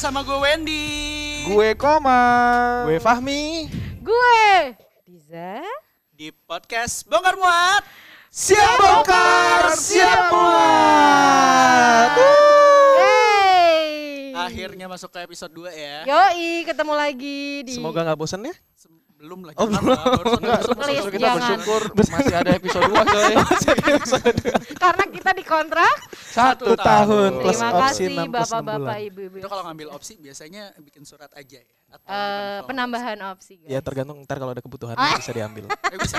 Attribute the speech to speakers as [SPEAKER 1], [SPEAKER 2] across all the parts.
[SPEAKER 1] sama gue Wendy.
[SPEAKER 2] Gue Koma.
[SPEAKER 3] Gue Fahmi.
[SPEAKER 4] Gue Diza.
[SPEAKER 1] Di podcast Bongkar Muat.
[SPEAKER 2] siap bongkar, siap muat.
[SPEAKER 4] Hey.
[SPEAKER 1] Akhirnya masuk ke episode 2 ya.
[SPEAKER 4] Iya. Yoi, ketemu lagi di
[SPEAKER 3] Semoga nggak bosan ya.
[SPEAKER 1] Sebelum lagi.
[SPEAKER 2] Oh,
[SPEAKER 1] apa,
[SPEAKER 2] belum.
[SPEAKER 1] barusan
[SPEAKER 3] Enggak,
[SPEAKER 1] masuk-
[SPEAKER 4] Please,
[SPEAKER 3] justru kita
[SPEAKER 4] jangan.
[SPEAKER 3] bersyukur masih ada episode 2 coy.
[SPEAKER 4] karena kita dikontrak.
[SPEAKER 1] Satu
[SPEAKER 2] Satu
[SPEAKER 1] tahun.
[SPEAKER 2] tahun plus
[SPEAKER 4] Terima
[SPEAKER 2] opsi
[SPEAKER 4] kasih
[SPEAKER 2] 6 plus 6
[SPEAKER 4] Bapak-bapak,
[SPEAKER 2] bulan.
[SPEAKER 4] Ibu-ibu.
[SPEAKER 1] Itu kalau ngambil opsi biasanya bikin surat aja ya. Atau
[SPEAKER 4] Eh,
[SPEAKER 1] gimana kalau-
[SPEAKER 4] penambahan opsi, guys.
[SPEAKER 3] Ya tergantung ntar kalau ada kebutuhan
[SPEAKER 4] Ah.
[SPEAKER 3] bisa diambil.
[SPEAKER 1] Eh, bisa.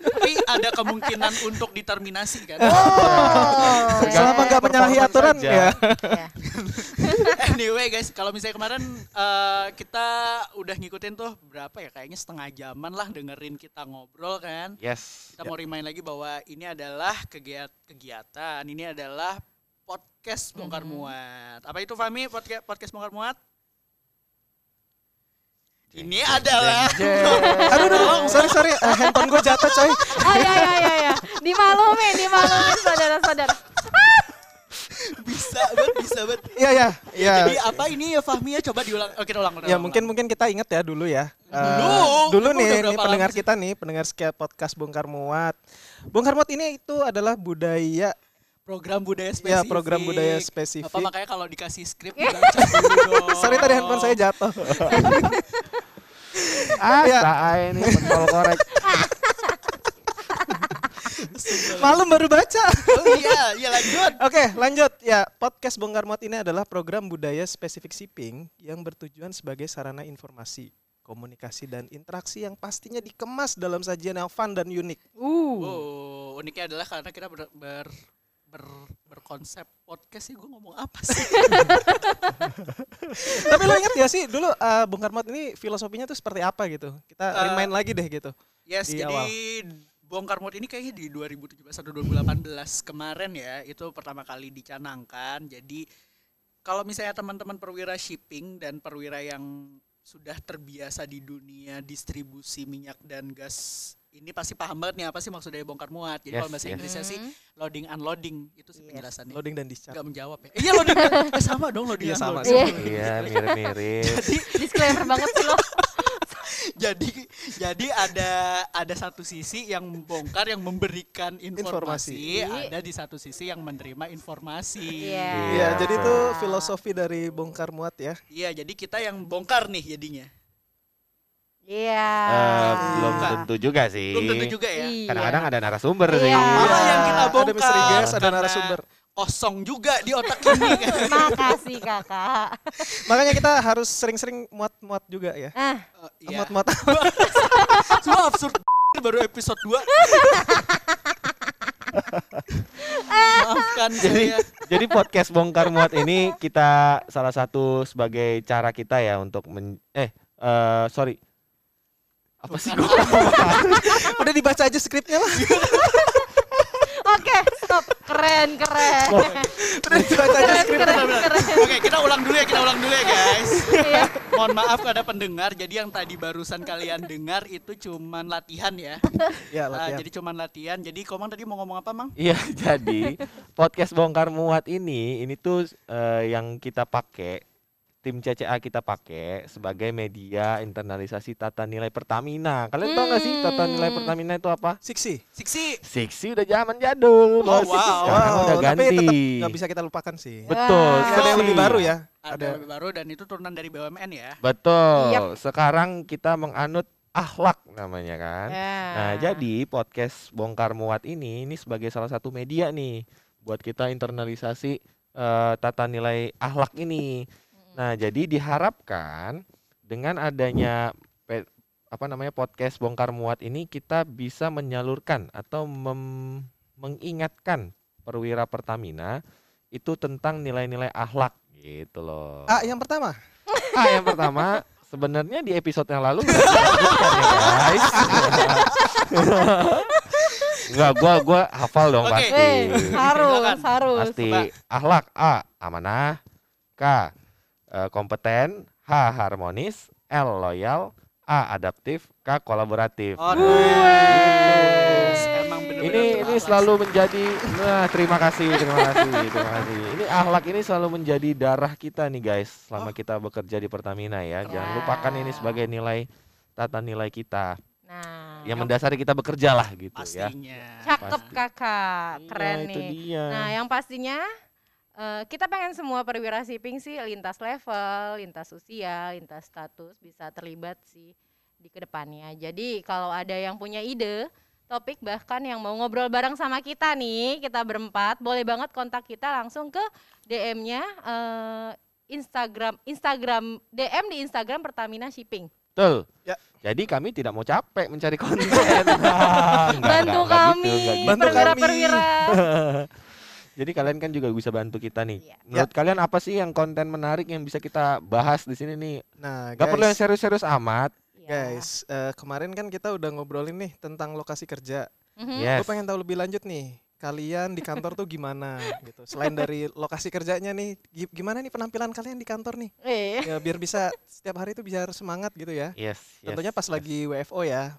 [SPEAKER 1] Tapi ada kemungkinan untuk diterminasi kan.
[SPEAKER 4] Oh,
[SPEAKER 2] Selama nggak menyalahi
[SPEAKER 3] Performance
[SPEAKER 2] aturan
[SPEAKER 3] aja.
[SPEAKER 2] ya.
[SPEAKER 4] ya.
[SPEAKER 1] anyway guys, kalau misalnya kemarin eh, kita udah ngikutin tuh berapa ya kayaknya setengah jaman lah dengerin kita ngobrol kan.
[SPEAKER 2] Yes.
[SPEAKER 1] Kita mau
[SPEAKER 3] Ya.
[SPEAKER 1] remind lagi bahwa ini adalah kegiat kegiatan, ini adalah podcast bongkar
[SPEAKER 3] Mm-hmm.
[SPEAKER 4] Mhm.
[SPEAKER 1] muat. Apa itu Fami podcast podcast bongkar muat? Ini adalah
[SPEAKER 2] Aduh, aduh, aduh, sorry, sorry, Eh, handphone gue jatuh coy.
[SPEAKER 4] Oh, ya, ya, ya, ya. Dimaklumi, dimaklumi saudara-saudara.
[SPEAKER 1] bisa banget, bisa banget.
[SPEAKER 2] Iya, iya, iya.
[SPEAKER 1] Jadi apa ini ya Fahmi ya coba diulang. Oke, ulang, ulang.
[SPEAKER 3] Ya
[SPEAKER 1] ulang.
[SPEAKER 3] mungkin mungkin kita ingat ya dulu ya. Eh,
[SPEAKER 1] Dulu?
[SPEAKER 3] dulu
[SPEAKER 1] Emang udah
[SPEAKER 3] nih, nih
[SPEAKER 1] berapa
[SPEAKER 3] pendengar
[SPEAKER 1] lama sih?
[SPEAKER 3] kita nih, pendengar sekian podcast Bongkar Muat. Bongkar Muat ini itu adalah budaya
[SPEAKER 1] program budaya
[SPEAKER 3] ya
[SPEAKER 1] spesifik.
[SPEAKER 3] program budaya
[SPEAKER 1] Apa
[SPEAKER 3] spesifik.
[SPEAKER 1] makanya kalau dikasih skrip dibaca dulu dong.
[SPEAKER 3] Sorry tadi handphone saya jatuh.
[SPEAKER 2] Ah,
[SPEAKER 3] Iya.
[SPEAKER 2] ini pentol korek.
[SPEAKER 3] Malam baru baca.
[SPEAKER 1] Oh iya, iya lanjut.
[SPEAKER 3] Oke, lanjut. Ya, podcast Bongkar Muat ini adalah program budaya spesifik shipping yang bertujuan sebagai sarana informasi, komunikasi dan interaksi yang pastinya dikemas dalam sajian yang fun dan unik.
[SPEAKER 4] Uh.
[SPEAKER 1] Oh, uniknya adalah karena kita ber, ber, ber- berkonsep podcast sih gue ngomong apa sih?
[SPEAKER 3] Tapi lo ingat ya sih dulu eh, Bongkar Muat ini filosofinya tuh seperti apa gitu? Kita
[SPEAKER 1] Eh,
[SPEAKER 3] remind lagi deh gitu.
[SPEAKER 1] Yes,
[SPEAKER 3] Di
[SPEAKER 2] Iya,
[SPEAKER 1] jadi Bongkar Mod ini kayaknya di 2017 atau 2018 kemarin ya, itu pertama kali dicanangkan. Jadi kalau misalnya teman-teman perwira shipping dan perwira yang sudah terbiasa di dunia distribusi minyak dan gas ini pasti paham banget nih apa sih maksudnya bongkar muat.
[SPEAKER 2] Yes,
[SPEAKER 1] Jadi kalau bahasa
[SPEAKER 2] yes.
[SPEAKER 1] Inggrisnya sih
[SPEAKER 4] Hmm.
[SPEAKER 1] loading unloading itu sih
[SPEAKER 4] Yes.
[SPEAKER 1] penjelasannya.
[SPEAKER 3] Loading dan discharge.
[SPEAKER 1] Gak menjawab ya. Iya loading dan- eh, sama dong loading
[SPEAKER 3] Iya, sama
[SPEAKER 1] unloading.
[SPEAKER 4] sih.
[SPEAKER 2] Iya, mirip-mirip.
[SPEAKER 4] Disclaimer banget sih lo.
[SPEAKER 1] jadi jadi ada ada satu sisi yang membongkar yang memberikan informasi,
[SPEAKER 4] Informasi.
[SPEAKER 1] ada di satu sisi yang menerima informasi
[SPEAKER 4] Iya.
[SPEAKER 3] Iya, jadi itu filosofi dari Bongkar Muat ya.
[SPEAKER 1] iya jadi kita yang bongkar nih jadinya
[SPEAKER 4] Iya.
[SPEAKER 5] Eh, belum
[SPEAKER 1] Bukan.
[SPEAKER 5] tentu juga sih.
[SPEAKER 1] belum tentu juga ya
[SPEAKER 4] Iya.
[SPEAKER 5] Kadang-kadang ada narasumber sih.
[SPEAKER 4] Iya.
[SPEAKER 1] Apa yang kita
[SPEAKER 3] Ada misteri
[SPEAKER 1] bongkar?
[SPEAKER 3] guys, ada
[SPEAKER 1] Karena-
[SPEAKER 3] narasumber.
[SPEAKER 1] kosong juga di otak ini kan.
[SPEAKER 4] Makasih kakak.
[SPEAKER 3] Makanya kita harus sering-sering muat-muat juga ya.
[SPEAKER 4] Ah,
[SPEAKER 1] Oh, iya.
[SPEAKER 3] Muat-muat.
[SPEAKER 1] Semua absurd baru episode 2 maafkan
[SPEAKER 5] Jadi,
[SPEAKER 3] Iya.
[SPEAKER 1] saya
[SPEAKER 5] jadi podcast bongkar muat ini kita salah satu sebagai cara kita ya untuk men eh eh, sorry apa sih gua?
[SPEAKER 3] Udah dibaca aja skripnya lah.
[SPEAKER 4] Oke, stop. Keren, keren.
[SPEAKER 3] Udah dibaca aja
[SPEAKER 4] Keren,
[SPEAKER 3] skripnya.
[SPEAKER 4] keren, keren.
[SPEAKER 1] Oke, kita ulang dulu ya, kita ulang dulu ya, guys.
[SPEAKER 4] Iya.
[SPEAKER 5] kan?
[SPEAKER 1] Mohon maaf ada pendengar. Jadi yang tadi barusan kalian dengar itu cuman latihan ya.
[SPEAKER 3] Ya,
[SPEAKER 1] Ah,
[SPEAKER 3] latihan.
[SPEAKER 1] jadi cuman latihan. Jadi Komang tadi mau ngomong apa, Mang?
[SPEAKER 5] Iya jadi podcast bongkar muat ini ini tuh eh, yang kita pakai tim CCA kita pakai sebagai media internalisasi tata nilai Pertamina. Kalian tau gak sih tata nilai
[SPEAKER 4] Hmm.
[SPEAKER 5] Pertamina itu apa?
[SPEAKER 3] Siksi.
[SPEAKER 1] Siksi.
[SPEAKER 5] Siksi udah zaman jadul,
[SPEAKER 1] Oh,
[SPEAKER 5] bos.
[SPEAKER 1] wow.
[SPEAKER 3] ya.
[SPEAKER 5] Sekarang udah
[SPEAKER 3] tapi
[SPEAKER 5] ganti.
[SPEAKER 3] tetap nggak bisa kita lupakan sih.
[SPEAKER 5] Betul.
[SPEAKER 4] Wah.
[SPEAKER 3] Ada yang lebih
[SPEAKER 5] Siksi.
[SPEAKER 3] baru ya.
[SPEAKER 1] Ada
[SPEAKER 3] Ada.
[SPEAKER 1] yang baru dan itu turunan dari BUMN ya.
[SPEAKER 5] Betul.
[SPEAKER 4] Yap.
[SPEAKER 5] Sekarang kita menganut akhlak namanya kan.
[SPEAKER 4] Ya.
[SPEAKER 5] Nah, jadi podcast Bongkar Muat ini ini sebagai salah satu media nih buat kita internalisasi eh, tata nilai akhlak ini. Nah, jadi diharapkan dengan adanya pe- apa namanya podcast Bongkar Muat ini kita bisa menyalurkan atau mem- mengingatkan perwira Pertamina itu tentang nilai-nilai akhlak gitu loh.
[SPEAKER 3] Ah, yang pertama.
[SPEAKER 5] Ah, yang pertama sebenarnya di episode yang lalu nggak kita sebutkan ya, guys. Enggak, gua gua hafal dong
[SPEAKER 1] Oke.
[SPEAKER 5] pasti.
[SPEAKER 4] Weh, harus,
[SPEAKER 1] Silakan.
[SPEAKER 4] harus.
[SPEAKER 5] Pasti
[SPEAKER 1] Coba.
[SPEAKER 5] akhlak A amanah, K eh, kompeten, H harmonis, L loyal, A adaptif, K kolaboratif.
[SPEAKER 1] Oh, nice. Emang bener
[SPEAKER 5] ini ini selalu menjadi nah terima kasih terima kasih terima kasih ini akhlak ini selalu menjadi darah kita nih guys selama kita bekerja di Pertamina ya jangan
[SPEAKER 4] Keren.
[SPEAKER 5] lupakan ini sebagai nilai tata nilai kita
[SPEAKER 4] Nah,
[SPEAKER 5] yang mendasari kita bekerja lah gitu ya
[SPEAKER 1] pastinya.
[SPEAKER 4] cakep
[SPEAKER 5] Pasti.
[SPEAKER 4] kakak, keren
[SPEAKER 5] Iya, itu
[SPEAKER 4] nih.
[SPEAKER 5] dia.
[SPEAKER 4] Nah, yang pastinya eh, kita pengen semua perwira shipping sih lintas level, lintas usia, lintas status bisa terlibat sih di kedepannya. Jadi kalau ada yang punya ide, topik bahkan yang mau ngobrol bareng sama kita nih, kita berempat, boleh banget kontak kita langsung ke DM-nya eh, Instagram Instagram DM di Instagram Pertamina Shipping.
[SPEAKER 5] betul
[SPEAKER 3] Ya.
[SPEAKER 5] jadi kami tidak mau capek mencari konten Nah, enggak,
[SPEAKER 4] Bantu
[SPEAKER 5] enggak, enggak gitu,
[SPEAKER 4] kami,
[SPEAKER 5] enggak gitu.
[SPEAKER 3] Bantu kami.
[SPEAKER 4] perwira-perwira.
[SPEAKER 5] Jadi kalian kan juga bisa bantu kita nih.
[SPEAKER 3] Ya.
[SPEAKER 4] Iya.
[SPEAKER 5] Menurut kalian apa sih yang konten menarik yang bisa kita bahas di sini nih?
[SPEAKER 3] Nah,
[SPEAKER 5] Gak perlu yang
[SPEAKER 3] guys,
[SPEAKER 5] serius-serius amat.
[SPEAKER 4] Ya.
[SPEAKER 3] guys, eh, kemarin kan kita udah ngobrolin nih tentang lokasi kerja.
[SPEAKER 4] Mhm.
[SPEAKER 5] Yes.
[SPEAKER 3] Gue pengen tahu lebih lanjut nih. Kalian di kantor tuh gimana gitu? Selain dari lokasi kerjanya nih, gi- gimana nih penampilan kalian di kantor nih?
[SPEAKER 4] Eh.
[SPEAKER 3] Ya biar bisa setiap hari tuh biar semangat gitu ya.
[SPEAKER 5] Yes. yes,
[SPEAKER 3] Tentunya pas
[SPEAKER 5] yes.
[SPEAKER 3] lagi WFO ya.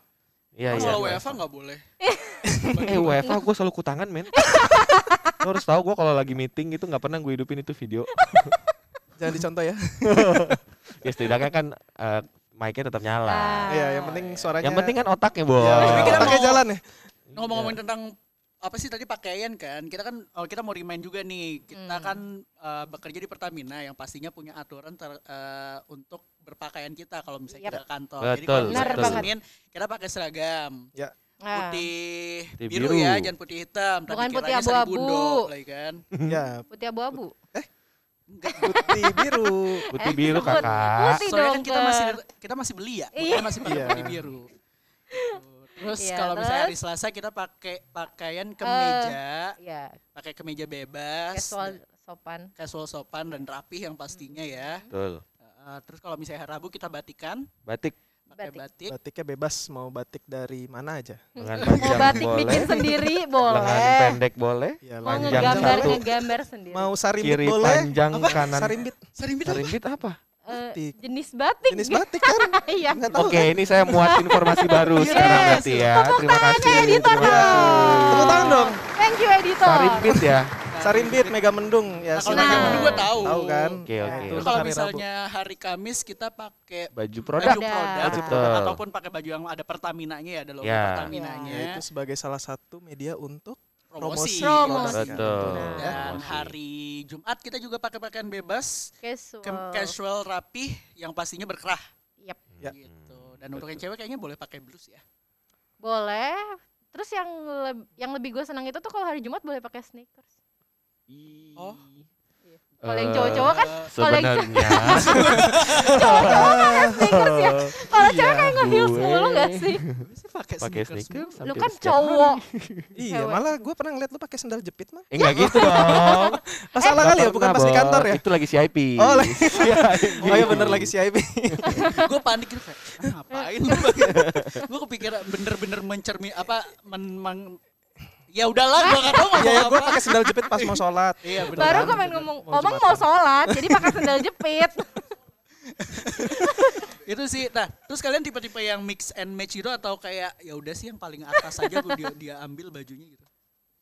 [SPEAKER 5] Iya,
[SPEAKER 1] Oh,
[SPEAKER 5] iya.
[SPEAKER 1] kalau WFA nggak boleh.
[SPEAKER 5] Eh WFA gue selalu kutangan men. Lo harus tahu gue kalau lagi meeting itu nggak pernah gue hidupin itu video.
[SPEAKER 3] Jangan dicontoh ya.
[SPEAKER 5] Ya setidaknya kan eh, mic-nya tetap nyala.
[SPEAKER 4] Ah.
[SPEAKER 3] Iya, yang penting suaranya.
[SPEAKER 5] Yang penting kan otaknya Iya. boh.
[SPEAKER 3] ya,
[SPEAKER 1] Tapi kita
[SPEAKER 3] otaknya
[SPEAKER 1] mau-
[SPEAKER 3] jalan ya.
[SPEAKER 1] ngomong-ngomongin
[SPEAKER 4] Iya.
[SPEAKER 1] tentang apa sih tadi pakaian kan kita kan oh, kita mau remind juga nih kita
[SPEAKER 4] Hmm.
[SPEAKER 1] kan eh, bekerja di Pertamina yang pastinya punya aturan ter- eh, untuk berpakaian kita kalau misalnya
[SPEAKER 4] Yap.
[SPEAKER 1] kita ke kantor
[SPEAKER 5] Betul,
[SPEAKER 1] jadi kalau misalnya
[SPEAKER 4] betul.
[SPEAKER 1] kita Senin, kita pakai seragam
[SPEAKER 4] Ah.
[SPEAKER 1] putih
[SPEAKER 5] Putih
[SPEAKER 1] biru,
[SPEAKER 5] biru.
[SPEAKER 1] ya jangan putih hitam tapi
[SPEAKER 4] Bukan putih
[SPEAKER 1] kiranya
[SPEAKER 4] abu-abu.
[SPEAKER 1] seribundo, lagi kan
[SPEAKER 3] Ya,
[SPEAKER 4] Putih abu-abu.
[SPEAKER 1] Enggak.
[SPEAKER 3] putih biru.
[SPEAKER 1] Eh,
[SPEAKER 5] Putih biru
[SPEAKER 4] sebut.
[SPEAKER 5] kakak.
[SPEAKER 4] Putih
[SPEAKER 1] soalnya
[SPEAKER 4] dong
[SPEAKER 1] kan kita
[SPEAKER 4] ke-
[SPEAKER 1] masih kita masih beli ya
[SPEAKER 4] Iya.
[SPEAKER 1] makanya masih pakai
[SPEAKER 3] Iya.
[SPEAKER 1] putih biru terus
[SPEAKER 4] Iya,
[SPEAKER 1] kalau misalnya
[SPEAKER 4] terus? Eh.
[SPEAKER 1] hari Selasa kita pakai pakaian kemeja
[SPEAKER 4] Ya,
[SPEAKER 1] pakai kemeja bebas
[SPEAKER 4] casual sopan.
[SPEAKER 1] casual sopan dan rapih yang pastinya ya.
[SPEAKER 5] Betul.
[SPEAKER 4] Mm-hmm.
[SPEAKER 1] Uh, terus kalau misalnya hari Rabu kita batikan,
[SPEAKER 5] Batik
[SPEAKER 1] pakai
[SPEAKER 4] Batik.
[SPEAKER 1] batik.
[SPEAKER 3] Batiknya bebas mau batik dari mana aja.
[SPEAKER 5] lengan
[SPEAKER 4] Mau
[SPEAKER 5] panjang
[SPEAKER 4] batik
[SPEAKER 5] boleh.
[SPEAKER 4] bikin sendiri
[SPEAKER 5] Lengan
[SPEAKER 4] boleh.
[SPEAKER 5] pendek boleh.
[SPEAKER 3] Ya,
[SPEAKER 4] Mau
[SPEAKER 5] panjang
[SPEAKER 4] ngegambar
[SPEAKER 5] satu.
[SPEAKER 4] ngegambar sendiri. Eh,
[SPEAKER 3] Mau sarimbit
[SPEAKER 5] Kiri
[SPEAKER 3] boleh.
[SPEAKER 5] panjang kanan.
[SPEAKER 3] Sarimbit
[SPEAKER 1] Sering gitu.
[SPEAKER 5] Sarimbit apa?
[SPEAKER 4] Eh,
[SPEAKER 3] batik.
[SPEAKER 4] jenis batik.
[SPEAKER 3] jenis batik kan?
[SPEAKER 4] Iya.
[SPEAKER 3] Enggak tahu.
[SPEAKER 5] Oke, ini saya muat informasi baru
[SPEAKER 4] Yes.
[SPEAKER 5] sekarang berarti ya. Terima kasih.
[SPEAKER 4] editor
[SPEAKER 5] Terima
[SPEAKER 4] dong.
[SPEAKER 3] Tepuk
[SPEAKER 5] kasih.
[SPEAKER 3] tangan dong.
[SPEAKER 4] Thank you editor.
[SPEAKER 5] Sarimbit ya.
[SPEAKER 3] Sarimbit Megamendung
[SPEAKER 1] kan? Nah,
[SPEAKER 3] ya.
[SPEAKER 1] kalau
[SPEAKER 3] silakan.
[SPEAKER 4] Megamendung gua
[SPEAKER 1] tahu.
[SPEAKER 3] Tahu kan?
[SPEAKER 5] Oke,
[SPEAKER 4] Nah,
[SPEAKER 5] oke.
[SPEAKER 3] itu
[SPEAKER 1] Terus
[SPEAKER 3] Untuk
[SPEAKER 1] kalau
[SPEAKER 3] hari Rabu.
[SPEAKER 1] misalnya hari Kamis kita pakai
[SPEAKER 5] Baju produk.
[SPEAKER 1] baju produk
[SPEAKER 4] Produk.
[SPEAKER 1] gitu kan?
[SPEAKER 4] Baju
[SPEAKER 5] produk.
[SPEAKER 1] ataupun pakai baju yang ada Pertamina-nya ya, ada logo
[SPEAKER 5] Ya.
[SPEAKER 1] Pertamina-nya.
[SPEAKER 3] Ya, itu sebagai salah satu media untuk
[SPEAKER 1] Promosi. Nah.
[SPEAKER 3] promosi. Nah,
[SPEAKER 4] Promosi.
[SPEAKER 3] produk.
[SPEAKER 5] Betul.
[SPEAKER 4] Ya.
[SPEAKER 1] Dan
[SPEAKER 5] Promosi.
[SPEAKER 1] hari Jumat kita juga pakai pakaian bebas,
[SPEAKER 4] Casual.
[SPEAKER 1] kem- casual rapih yang pastinya berkerah
[SPEAKER 4] Yep,
[SPEAKER 5] Hmm.
[SPEAKER 3] Ya.
[SPEAKER 1] gitu. Dan untuk yang cewek kayaknya boleh pakai blus ya.
[SPEAKER 4] boleh. Terus yang leb- yang lebih gue senang itu tuh kalau hari Jumat boleh pakai sneakers.
[SPEAKER 1] Oh.
[SPEAKER 4] Kalau yang
[SPEAKER 5] Eh,
[SPEAKER 4] cowok-cowok kan kalau yang
[SPEAKER 5] sebenarnya
[SPEAKER 4] sneakers ya. Kalau cewek kayak nge-heels
[SPEAKER 5] gue.
[SPEAKER 4] mulu gak sih?
[SPEAKER 1] Gue sih pakai
[SPEAKER 5] pakai
[SPEAKER 1] sneakers.
[SPEAKER 5] sneakers
[SPEAKER 4] Lu
[SPEAKER 5] hampir
[SPEAKER 4] kan
[SPEAKER 5] setiap
[SPEAKER 4] cowok.
[SPEAKER 5] hari.
[SPEAKER 3] Iya,
[SPEAKER 4] Cewek.
[SPEAKER 3] malah gue pernah ngeliat lu pakai sendal jepit mah.
[SPEAKER 5] Eh enggak gitu dong.
[SPEAKER 3] Pas salah kali ya, bukan pas di kantor ya.
[SPEAKER 5] Itu lagi CIP.
[SPEAKER 3] Oh, lagi-
[SPEAKER 5] CIP.
[SPEAKER 3] Oh iya bener lagi Iya, CIP.
[SPEAKER 1] gue panik gitu kayak "Ah, ngapain gue kepikiran bener-bener mencermi apa men, men- ya udahlah gue gak tau mau
[SPEAKER 3] Iya,
[SPEAKER 1] ngomong
[SPEAKER 3] gue
[SPEAKER 1] apa
[SPEAKER 3] pakai sendal jepit pas mau sholat.
[SPEAKER 1] iya bener
[SPEAKER 4] Baru gue main ngomong,
[SPEAKER 3] Mau
[SPEAKER 4] omong mau
[SPEAKER 3] Jumatan.
[SPEAKER 4] sholat, jadi pakai sendal jepit.
[SPEAKER 1] itu sih nah terus kalian tipe-tipe yang mix and match gitu atau kayak ya udah sih yang paling atas aja gue dia, dia ambil bajunya gitu